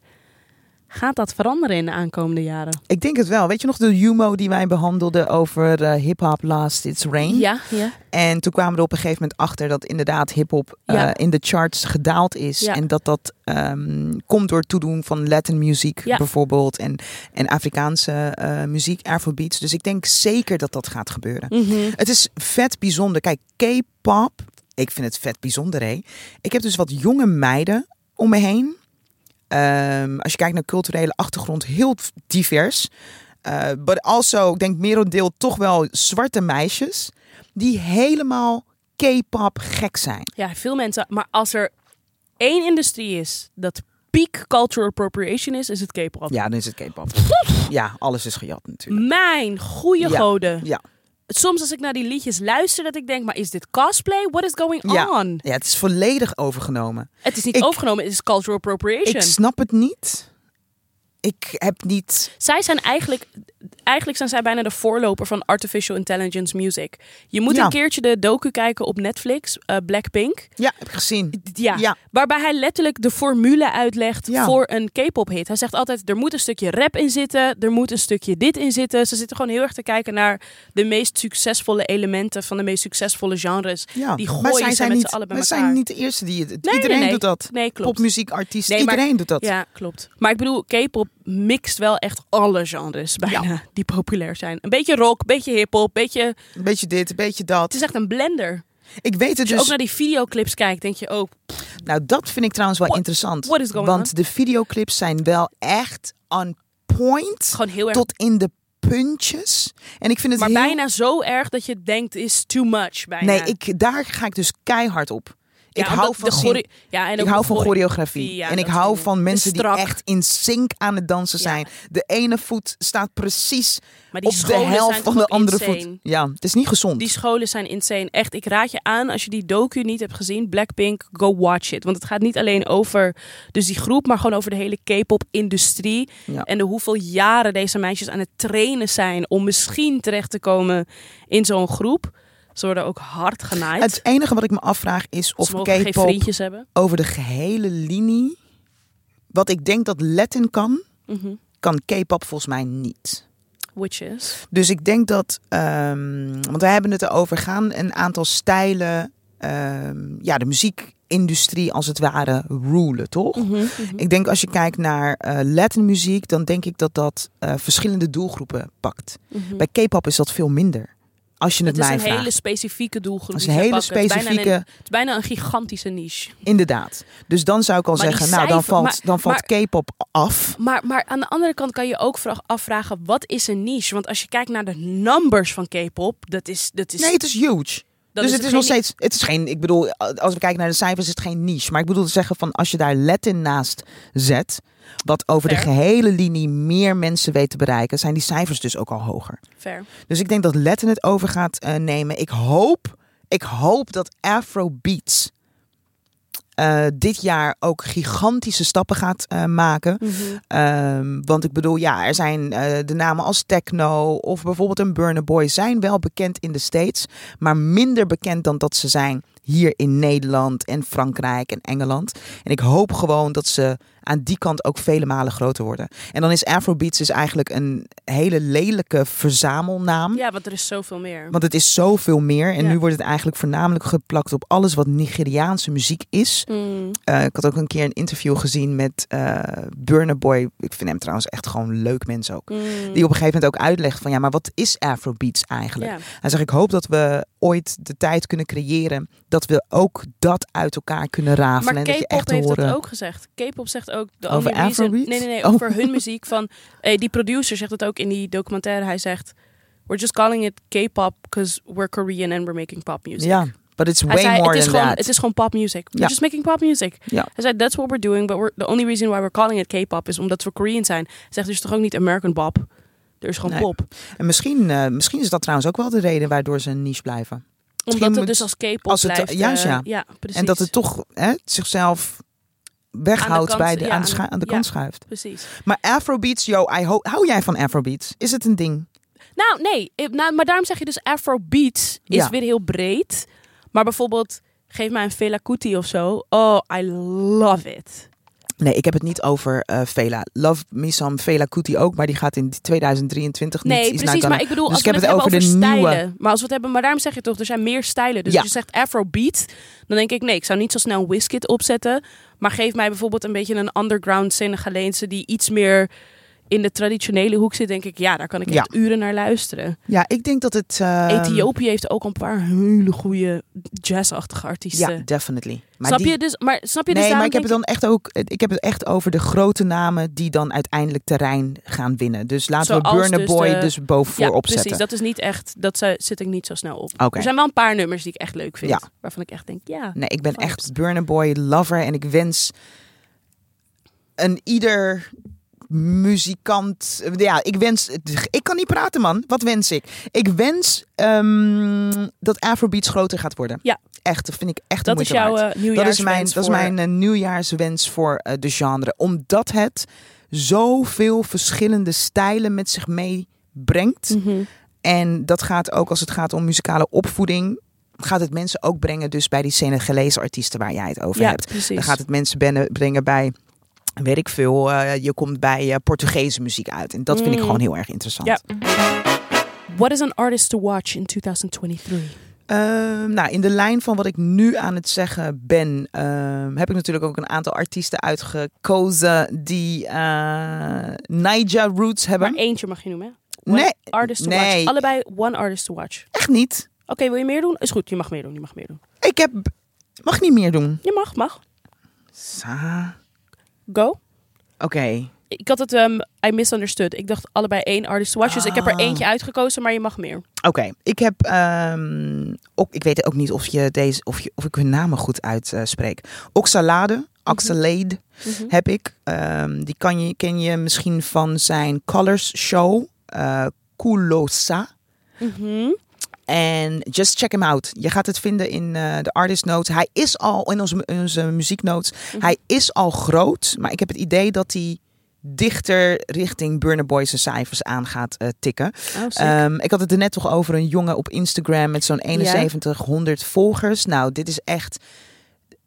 Gaat dat veranderen in de aankomende jaren? ik denk het wel. Weet je nog de humo die wij behandelden over eh, hip-hop Last It's Rain? Ja, ja. En toen kwamen we er op een gegeven moment achter dat inderdaad hip-hop eh, Ja. in de charts gedaald is. Ja. En dat dat ehm, komt door het toedoen van Latin muziek Ja. bijvoorbeeld. En, en Afrikaanse eh, muziek, Afrobeats. Dus ik denk zeker dat dat gaat gebeuren. Mhm. Het is vet bijzonder. Kijk, K-pop, ik vind het vet bijzonder, hé. Ik heb dus wat jonge meiden om me heen. Ehm, als je kijkt naar culturele achtergrond, heel v- divers. Eh but also, ik denk merendeel toch wel zwarte meisjes... die helemaal K-pop gek zijn. Ja, veel mensen. Maar als er één industrie is dat peak cultural appropriation is, is het K-pop. Ja, dan is het K-pop. Ja, alles is gejat natuurlijk. Mijn goede Ja. goden. Ja. soms als ik naar die liedjes luister, dat ik denk, maar is dit cosplay? What is going Ja. on? ja, het is volledig overgenomen. Het is niet Ik- overgenomen, het is cultural Ik appropriation. snap het niet. Ik heb niet... zij zijn eigenlijk, eigenlijk zijn zij bijna de voorloper van artificial intelligence music. Je moet Ja. een keertje de docu kijken op Netflix, eh, Blackpink. Ja, heb ik gezien. Ja, Ja. waarbij hij letterlijk de formule uitlegt Ja. voor een K-pop hit. Hij zegt altijd, er moet een stukje rap in zitten, er moet een stukje dit in zitten. Ze zitten gewoon heel erg te kijken naar de meest succesvolle elementen van de meest succesvolle genres. Ja, Die maar gooien zij ze zijn met niet, z'n allen bij wij elkaar. zijn niet de eerste die het. Nee, iedereen nee, nee. doet dat. Nee, klopt. Popmuziekartiest, Nee, maar- iedereen doet dat. Ja, klopt. Maar ik bedoel, K-pop mixt wel echt alle genres bijna die populair zijn. Een beetje rock, een beetje hip-hop, beetje. Een beetje dit, een beetje Het dat. is echt een blender. Ik weet het Als je ook dus. naar die videoclips kijkt, denk je oh, ook. Nou, dat vind ik trouwens wel What- interessant. what is going want on? de videoclips zijn wel echt on point. Gewoon heel erg. Tot in de puntjes. En ik vind het maar heel... bijna zo erg dat je denkt is too much bijna. Nee, ik, daar ga ik dus keihard op. Ja, Ik hou omdat van de zin- chore- ja, en ik ook hou de van chore- choreografie. ja, en ik dat hou vind ik. van Het is mensen die strak. echt in sync aan het dansen Ja. zijn. De ene voet staat precies Maar die op de scholen helft zijn van toch de ook andere insane? voet. Ja, het is niet gezond. Die scholen zijn insane. Echt, ik raad je aan als je die docu niet hebt gezien, Blackpink, go watch it. Want het gaat niet alleen over dus die groep, maar gewoon over de hele K-pop-industrie. Ja. En de hoeveel jaren deze meisjes aan het trainen zijn om misschien terecht te komen in zo'n groep. Ze worden ook hard genaaid. Het enige wat ik me afvraag is of Ze mogen geen K-pop vriendjes hebben. over de gehele linie, wat ik denk dat Latin kan, Mhm. kan K-pop volgens mij niet. Witches. Dus ik denk dat, ehm, want wij hebben het erover gaan, een aantal stijlen, ehm, ja, de muziekindustrie als het ware, rulen, toch? Mhm. Ik denk als je kijkt naar eh Latin muziek, dan denk ik dat dat eh, verschillende doelgroepen pakt. Bij K-pop is dat veel minder. Als je het, Mhm. Het is mij een vraagt. hele specifieke doelgroep. Dat is die een zij hele pakken. Het is bijna specifieke, een- Het is bijna een gigantische niche. inderdaad. Dus dan zou ik al Maar die zeggen, nou dan cijfer- valt, maar- dan valt K-pop af. Maar, maar aan de andere kant kan je ook vraag, afvragen, wat is een niche? Want als je kijkt naar de numbers van K-pop, dat is, dat is, Nee, het is huge. Dan dus is het is geen nog steeds, het is geen, ik bedoel, als we kijken naar de cijfers, is het geen niche. Maar ik bedoel te zeggen van als je daar Latin naast zet, wat over de Fair. gehele linie meer mensen weet te bereiken, zijn die cijfers dus ook al hoger. Fair. Dus ik denk dat Latin het over gaat eh, nemen. Ik hoop, ik hoop dat Afrobeats eh, dit jaar ook gigantische stappen gaat eh, maken. Ehm, want ik bedoel, ja, er zijn eh, de namen als Techno of bijvoorbeeld een Burner Boy zijn wel bekend in de States, maar minder bekend dan dat ze zijn hier in Nederland en Frankrijk en Engeland. En ik hoop gewoon dat ze aan die kant ook vele malen groter worden. En dan is Afrobeats dus eigenlijk een hele lelijke verzamelnaam. Ja, want er is zoveel meer. Want het is zoveel meer. En Ja. nu wordt het eigenlijk voornamelijk geplakt op alles wat Nigeriaanse muziek is. Mm. Eh, ik had ook een keer een interview gezien met eh Burner Boy. Ik vind hem trouwens echt gewoon een leuk mens ook. Mm. Die op een gegeven moment ook uitlegt van ja, maar wat is Afrobeats eigenlijk? Ja. Hij zegt, ik hoop dat we ooit de tijd kunnen creëren dat we ook dat uit elkaar kunnen rafelen. Maar en dat je K-pop echt heeft horen. dat ook gezegd. K-pop zegt ook de Over only reason. Afrobeat? Nee, nee, nee, Oh. over hun muziek van eh, die producer zegt het ook in die documentaire. Hij zegt we're just calling it K-pop because we're Korean and we're making pop music. Ja, but it's Hij way zei, more het is than gewoon, that. Het is gewoon pop music. We're Ja. just making pop music. Ja. Hij zei, that's what we're doing, but we're, the only reason why we're calling it K-pop is omdat we Korean zijn. Hij zegt, er is toch ook niet American pop? Er is gewoon Nee. pop. En misschien, eh, misschien is dat trouwens ook wel de reden waardoor ze een niche blijven. Omdat het moet- dus als K-pop als het- blijft. juist, eh, ja. ja precies. En dat het toch hè, zichzelf weghoudt kant, bij de, ja, aan de, aan- scha- aan de ja. kant schuift. Precies. Maar Afrobeats, yo, I ho- hou jij van Afrobeats? Is het een ding? Nou, nee. eh, Nou, maar daarom zeg je dus Afrobeat is Ja. weer heel breed. Maar bijvoorbeeld, geef mij een Fela Kuti of zo. Oh, I love it. Nee, ik heb het niet over eh, Vela. Love me some Vela Kuti ook, maar die gaat in 2023 Nee, niet. iets naar precies. Ghana. Maar ik bedoel, Dus als we ik heb het het hebben over de nieuwe. stijlen. Maar, als we het hebben, maar daarom zeg je toch, er zijn meer stijlen. Dus Ja. als je zegt Afrobeat, dan denk ik, nee, ik zou niet zo snel Wizkid opzetten. Maar geef mij bijvoorbeeld een beetje een underground Senegaleense die iets meer in de traditionele hoek zit. Denk ik, ja, daar kan ik Ja. echt uren naar luisteren. Ja, ik denk dat het... eh, Ethiopië heeft ook een paar hele goede jazzachtige artiesten. Ja, definitely. Maar snap die- je dus? Maar snap je dus? Nee, maar daarom ik heb het denk dan echt ook... Ik heb het echt over de grote namen die dan uiteindelijk terrein gaan winnen. Dus laten we Zoals Burner dus Boy de- dus boven ja, voorop precies. zetten. Dat is niet echt. Dat ze- zit ik niet zo snel op. Oké. Er zijn wel een paar nummers die ik echt leuk vind, Ja. waarvan ik echt denk, ja. Nee, ik ben Vibes. echt Burner Boy lover en ik wens een ieder muzikant. Ja, ik wens. Ik kan niet praten, man. Wat wens ik? Ik wens ehm, dat Afrobeats groter gaat worden. Ja. Echt, dat vind ik echt de Dat is moeite jouw waard. eh nieuwjaarswens dat is mijn, dat is voor- mijn eh, nieuwjaarswens voor eh, de genre. Omdat het zoveel verschillende stijlen met zich meebrengt. Mhm. En dat gaat ook als het gaat om muzikale opvoeding. Gaat het mensen ook brengen dus bij die Senegalese artiesten waar jij het over Ja, hebt. precies. Dan gaat het mensen benne- brengen bij, weet ik veel, eh, je komt bij eh, Portugese muziek uit. En dat vind ik Mm. gewoon heel erg interessant. Ja. What is an artist to watch in 2023? Ehm, nou, in de lijn van wat ik nu aan het zeggen ben, ehm, heb ik natuurlijk ook een aantal artiesten uitgekozen die eh Niger roots hebben. Maar eentje mag je noemen. hè? One Nee, Artist to nee. watch. Allebei one artist to watch. Oké, echt niet. wil je meer doen? Is goed. Je mag meer doen. Je mag meer doen. Ik heb, mag niet meer doen. Je mag, mag. Sa- Go. Oké. Ik had het, ehm, I misunderstood. Ik dacht allebei één artist to watch. Dus ik heb er Ah. eentje uitgekozen, maar je mag meer. Oké, ik heb ehm, ook, ik weet ook niet of je deze of, je, of ik hun namen goed uitspreek. Oxalade, Oxalade Mhm. heb ik. Ehm, die kan je, ken je misschien van zijn Colors Show, eh Kulosa. Mhm. En just check him out. Je gaat het vinden in eh, de artist notes. Hij is al in onze, mu- in onze muzieknotes. Hij is al groot, maar ik heb het idee dat hij dichter richting Burner Boys' cijfers aan gaat eh, tikken. Oh, sick. Ehm, ik had het er net toch over een jongen op Instagram met zo'n 7100 volgers. Nou, dit is echt.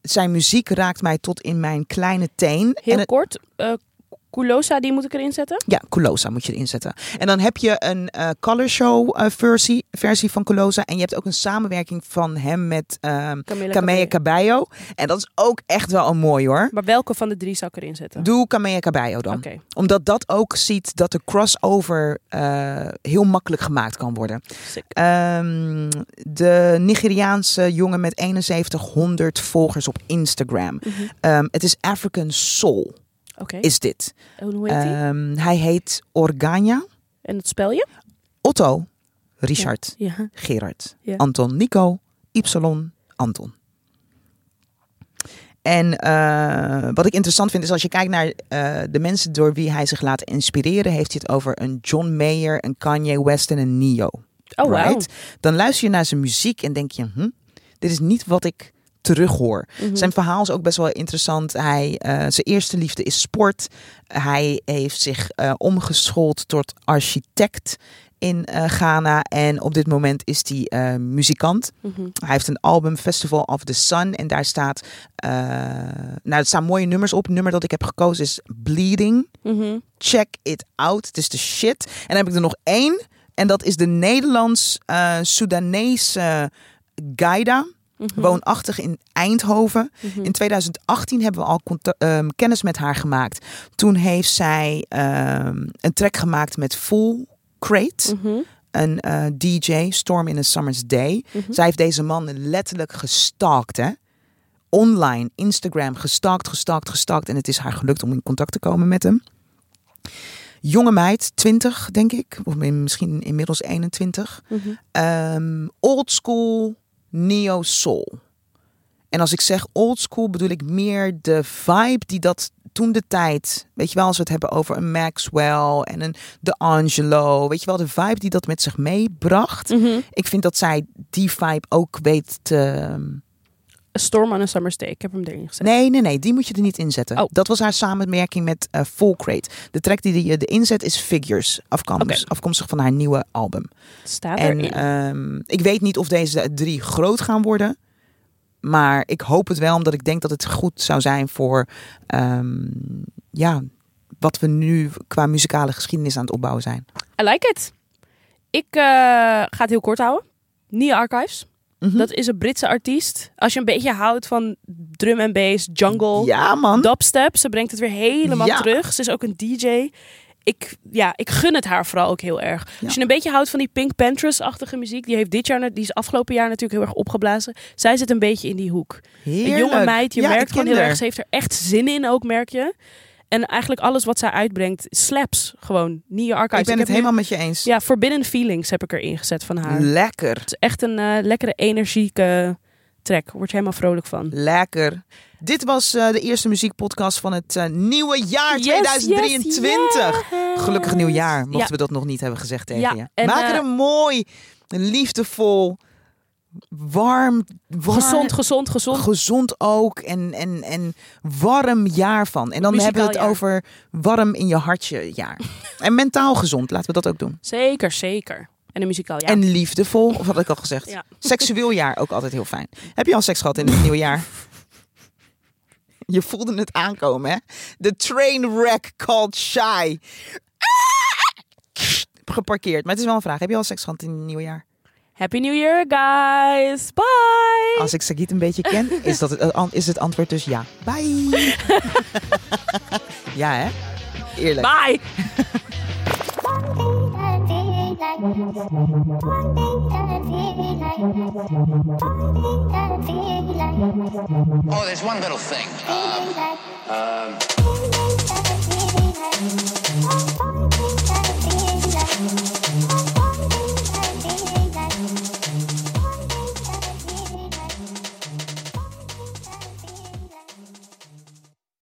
Zijn muziek raakt mij tot in mijn kleine teen. Heel en het- kort. eh Kulosa, die moet ik erin zetten. ja, Colosa moet je erin zetten. En dan heb je een eh, color show eh, versie, versie van Colosa. En je hebt ook een samenwerking van hem met ehm Camilla Kamea Cabello. Caballo. En dat is ook echt wel een mooi hoor. Maar welke van de drie zou ik erin zetten? Doe Kamea Caballo dan. Oké. Omdat dat ook ziet dat de crossover eh, heel makkelijk gemaakt kan worden. sick. Ehm, de Nigeriaanse jongen met 7100 volgers op Instagram. Mhm. Ehm, het is African Soul, Oké. is dit. En hoe heet die? Ehm, hij heet Organia, En dat spel je? Otto, Richard, Ja. Gerard, Ja. Anton, Nico Y Anton. En eh, wat ik interessant vind is als je kijkt naar eh, de mensen door wie hij zich laat inspireren, heeft hij het over een John Mayer, een Kanye West en een Neo. Oh, wow. Right? Dan luister je naar zijn muziek en denk je, hm, dit is niet wat ik terughoor. Mhm. Zijn verhaal is ook best wel interessant. Hij, eh, zijn eerste liefde is sport. Hij heeft zich eh, omgeschoold tot architect in eh, Ghana. En op dit moment is hij eh, muzikant. Mhm. Hij heeft een album, Festival of the Sun. En daar staat, eh, nou, er staan mooie nummers op. Het nummer dat ik heb gekozen is Bleeding. Mhm. Check it out. Het is de shit. En dan heb ik er nog één. En dat is de Nederlands-Soedanese Gaida. Mhm. Woonachtig in Eindhoven. Mhm. In 2018 hebben we al conta- ehm, kennis met haar gemaakt. Toen heeft zij ehm, een track gemaakt met Full Crate, Mhm. een eh, DJ, Storm in a Summer's Day. Mhm. Zij heeft deze man letterlijk gestalkt, hè? Online, Instagram, gestalkt, gestalkt, gestalkt. En het is haar gelukt om in contact te komen met hem. Jonge meid, 20 denk ik, of misschien inmiddels 21 Mhm. ehm old school neo soul. En als ik zeg old school bedoel ik meer de vibe die dat toen de tijd, weet je wel, als we het hebben over een Maxwell en een De Angelo, weet je wel, de vibe die dat met zich meebracht. Mhm. Ik vind dat zij die vibe ook weet te. A Storm on a Summer's Day. Ik heb hem erin gezet. Nee, nee, nee, die moet je er niet inzetten. Oh. Dat was haar samenwerking met eh Full Crate. De track die je erin zet is Figures, afkomst- Oké. afkomstig van haar nieuwe album. Staat En erin. ehm, ik weet niet of deze drie groot gaan worden. Maar ik hoop het wel, omdat ik denk dat het goed zou zijn voor ehm, ja, wat we nu qua muzikale geschiedenis aan het opbouwen zijn. I like it. Ik eh, ga het heel kort houden. Nia Archives. Mhm. Dat is een Britse artiest. Als je een beetje houdt van drum en bass, jungle, Ja, man. dubstep. Ze brengt het weer helemaal Ja. terug. Ze is ook een DJ. Ik, ja, ik gun het haar vooral ook heel erg. Ja. Als je een beetje houdt van die Pink Panthers-achtige muziek, die heeft dit jaar, die is afgelopen jaar natuurlijk heel erg opgeblazen. Zij zit een beetje in die hoek. Heerlijk. Een jonge meid, je Ja, ik merkt gewoon ken heel haar. erg, ze heeft er echt zin in ook, merk je. En eigenlijk alles wat zij uitbrengt, slaps gewoon. Nia Archives. Ik ben heb het nu- helemaal met je eens. ja, Forbidden Feelings heb ik erin gezet van haar. Het Lekker, is echt een eh, lekkere, energieke track. Word je helemaal vrolijk van. lekker. Dit was eh, de eerste muziekpodcast van het eh, nieuwe jaar Yes, 2023. yes. Gelukkig nieuwjaar, mochten Ja. we dat nog niet hebben gezegd tegen Ja, je. en, Maak er eh, een mooi, liefdevol, warm, warm Gezond, gezond, gezond. gezond ook en, en, en warm jaar van. En dan Muzikaal hebben we het jaar. over warm in je hartje jaar. en mentaal gezond, laten we dat ook doen. Zeker, zeker. En een muzikaal ja. En liefdevol, of had ik al gezegd. Ja. Seksueel jaar, ook altijd heel fijn. Heb je al seks gehad in het nieuwe jaar? Je voelde het aankomen, hè? De trainwreck called shy. Geparkeerd. Maar het is wel een vraag. Heb je al seks gehad in het nieuwe jaar? Happy New Year, guys. Bye. Als ik Sagit een beetje ken, is, dat het, is het antwoord dus ja. Bye. ja, hè? Eerlijk. Bye. Um, Don't think that I feel like this. Don't think that I feel like this. Don't think that I feel like this. Oh, there's one little thing. Feeling like- Feeling that I feel like this.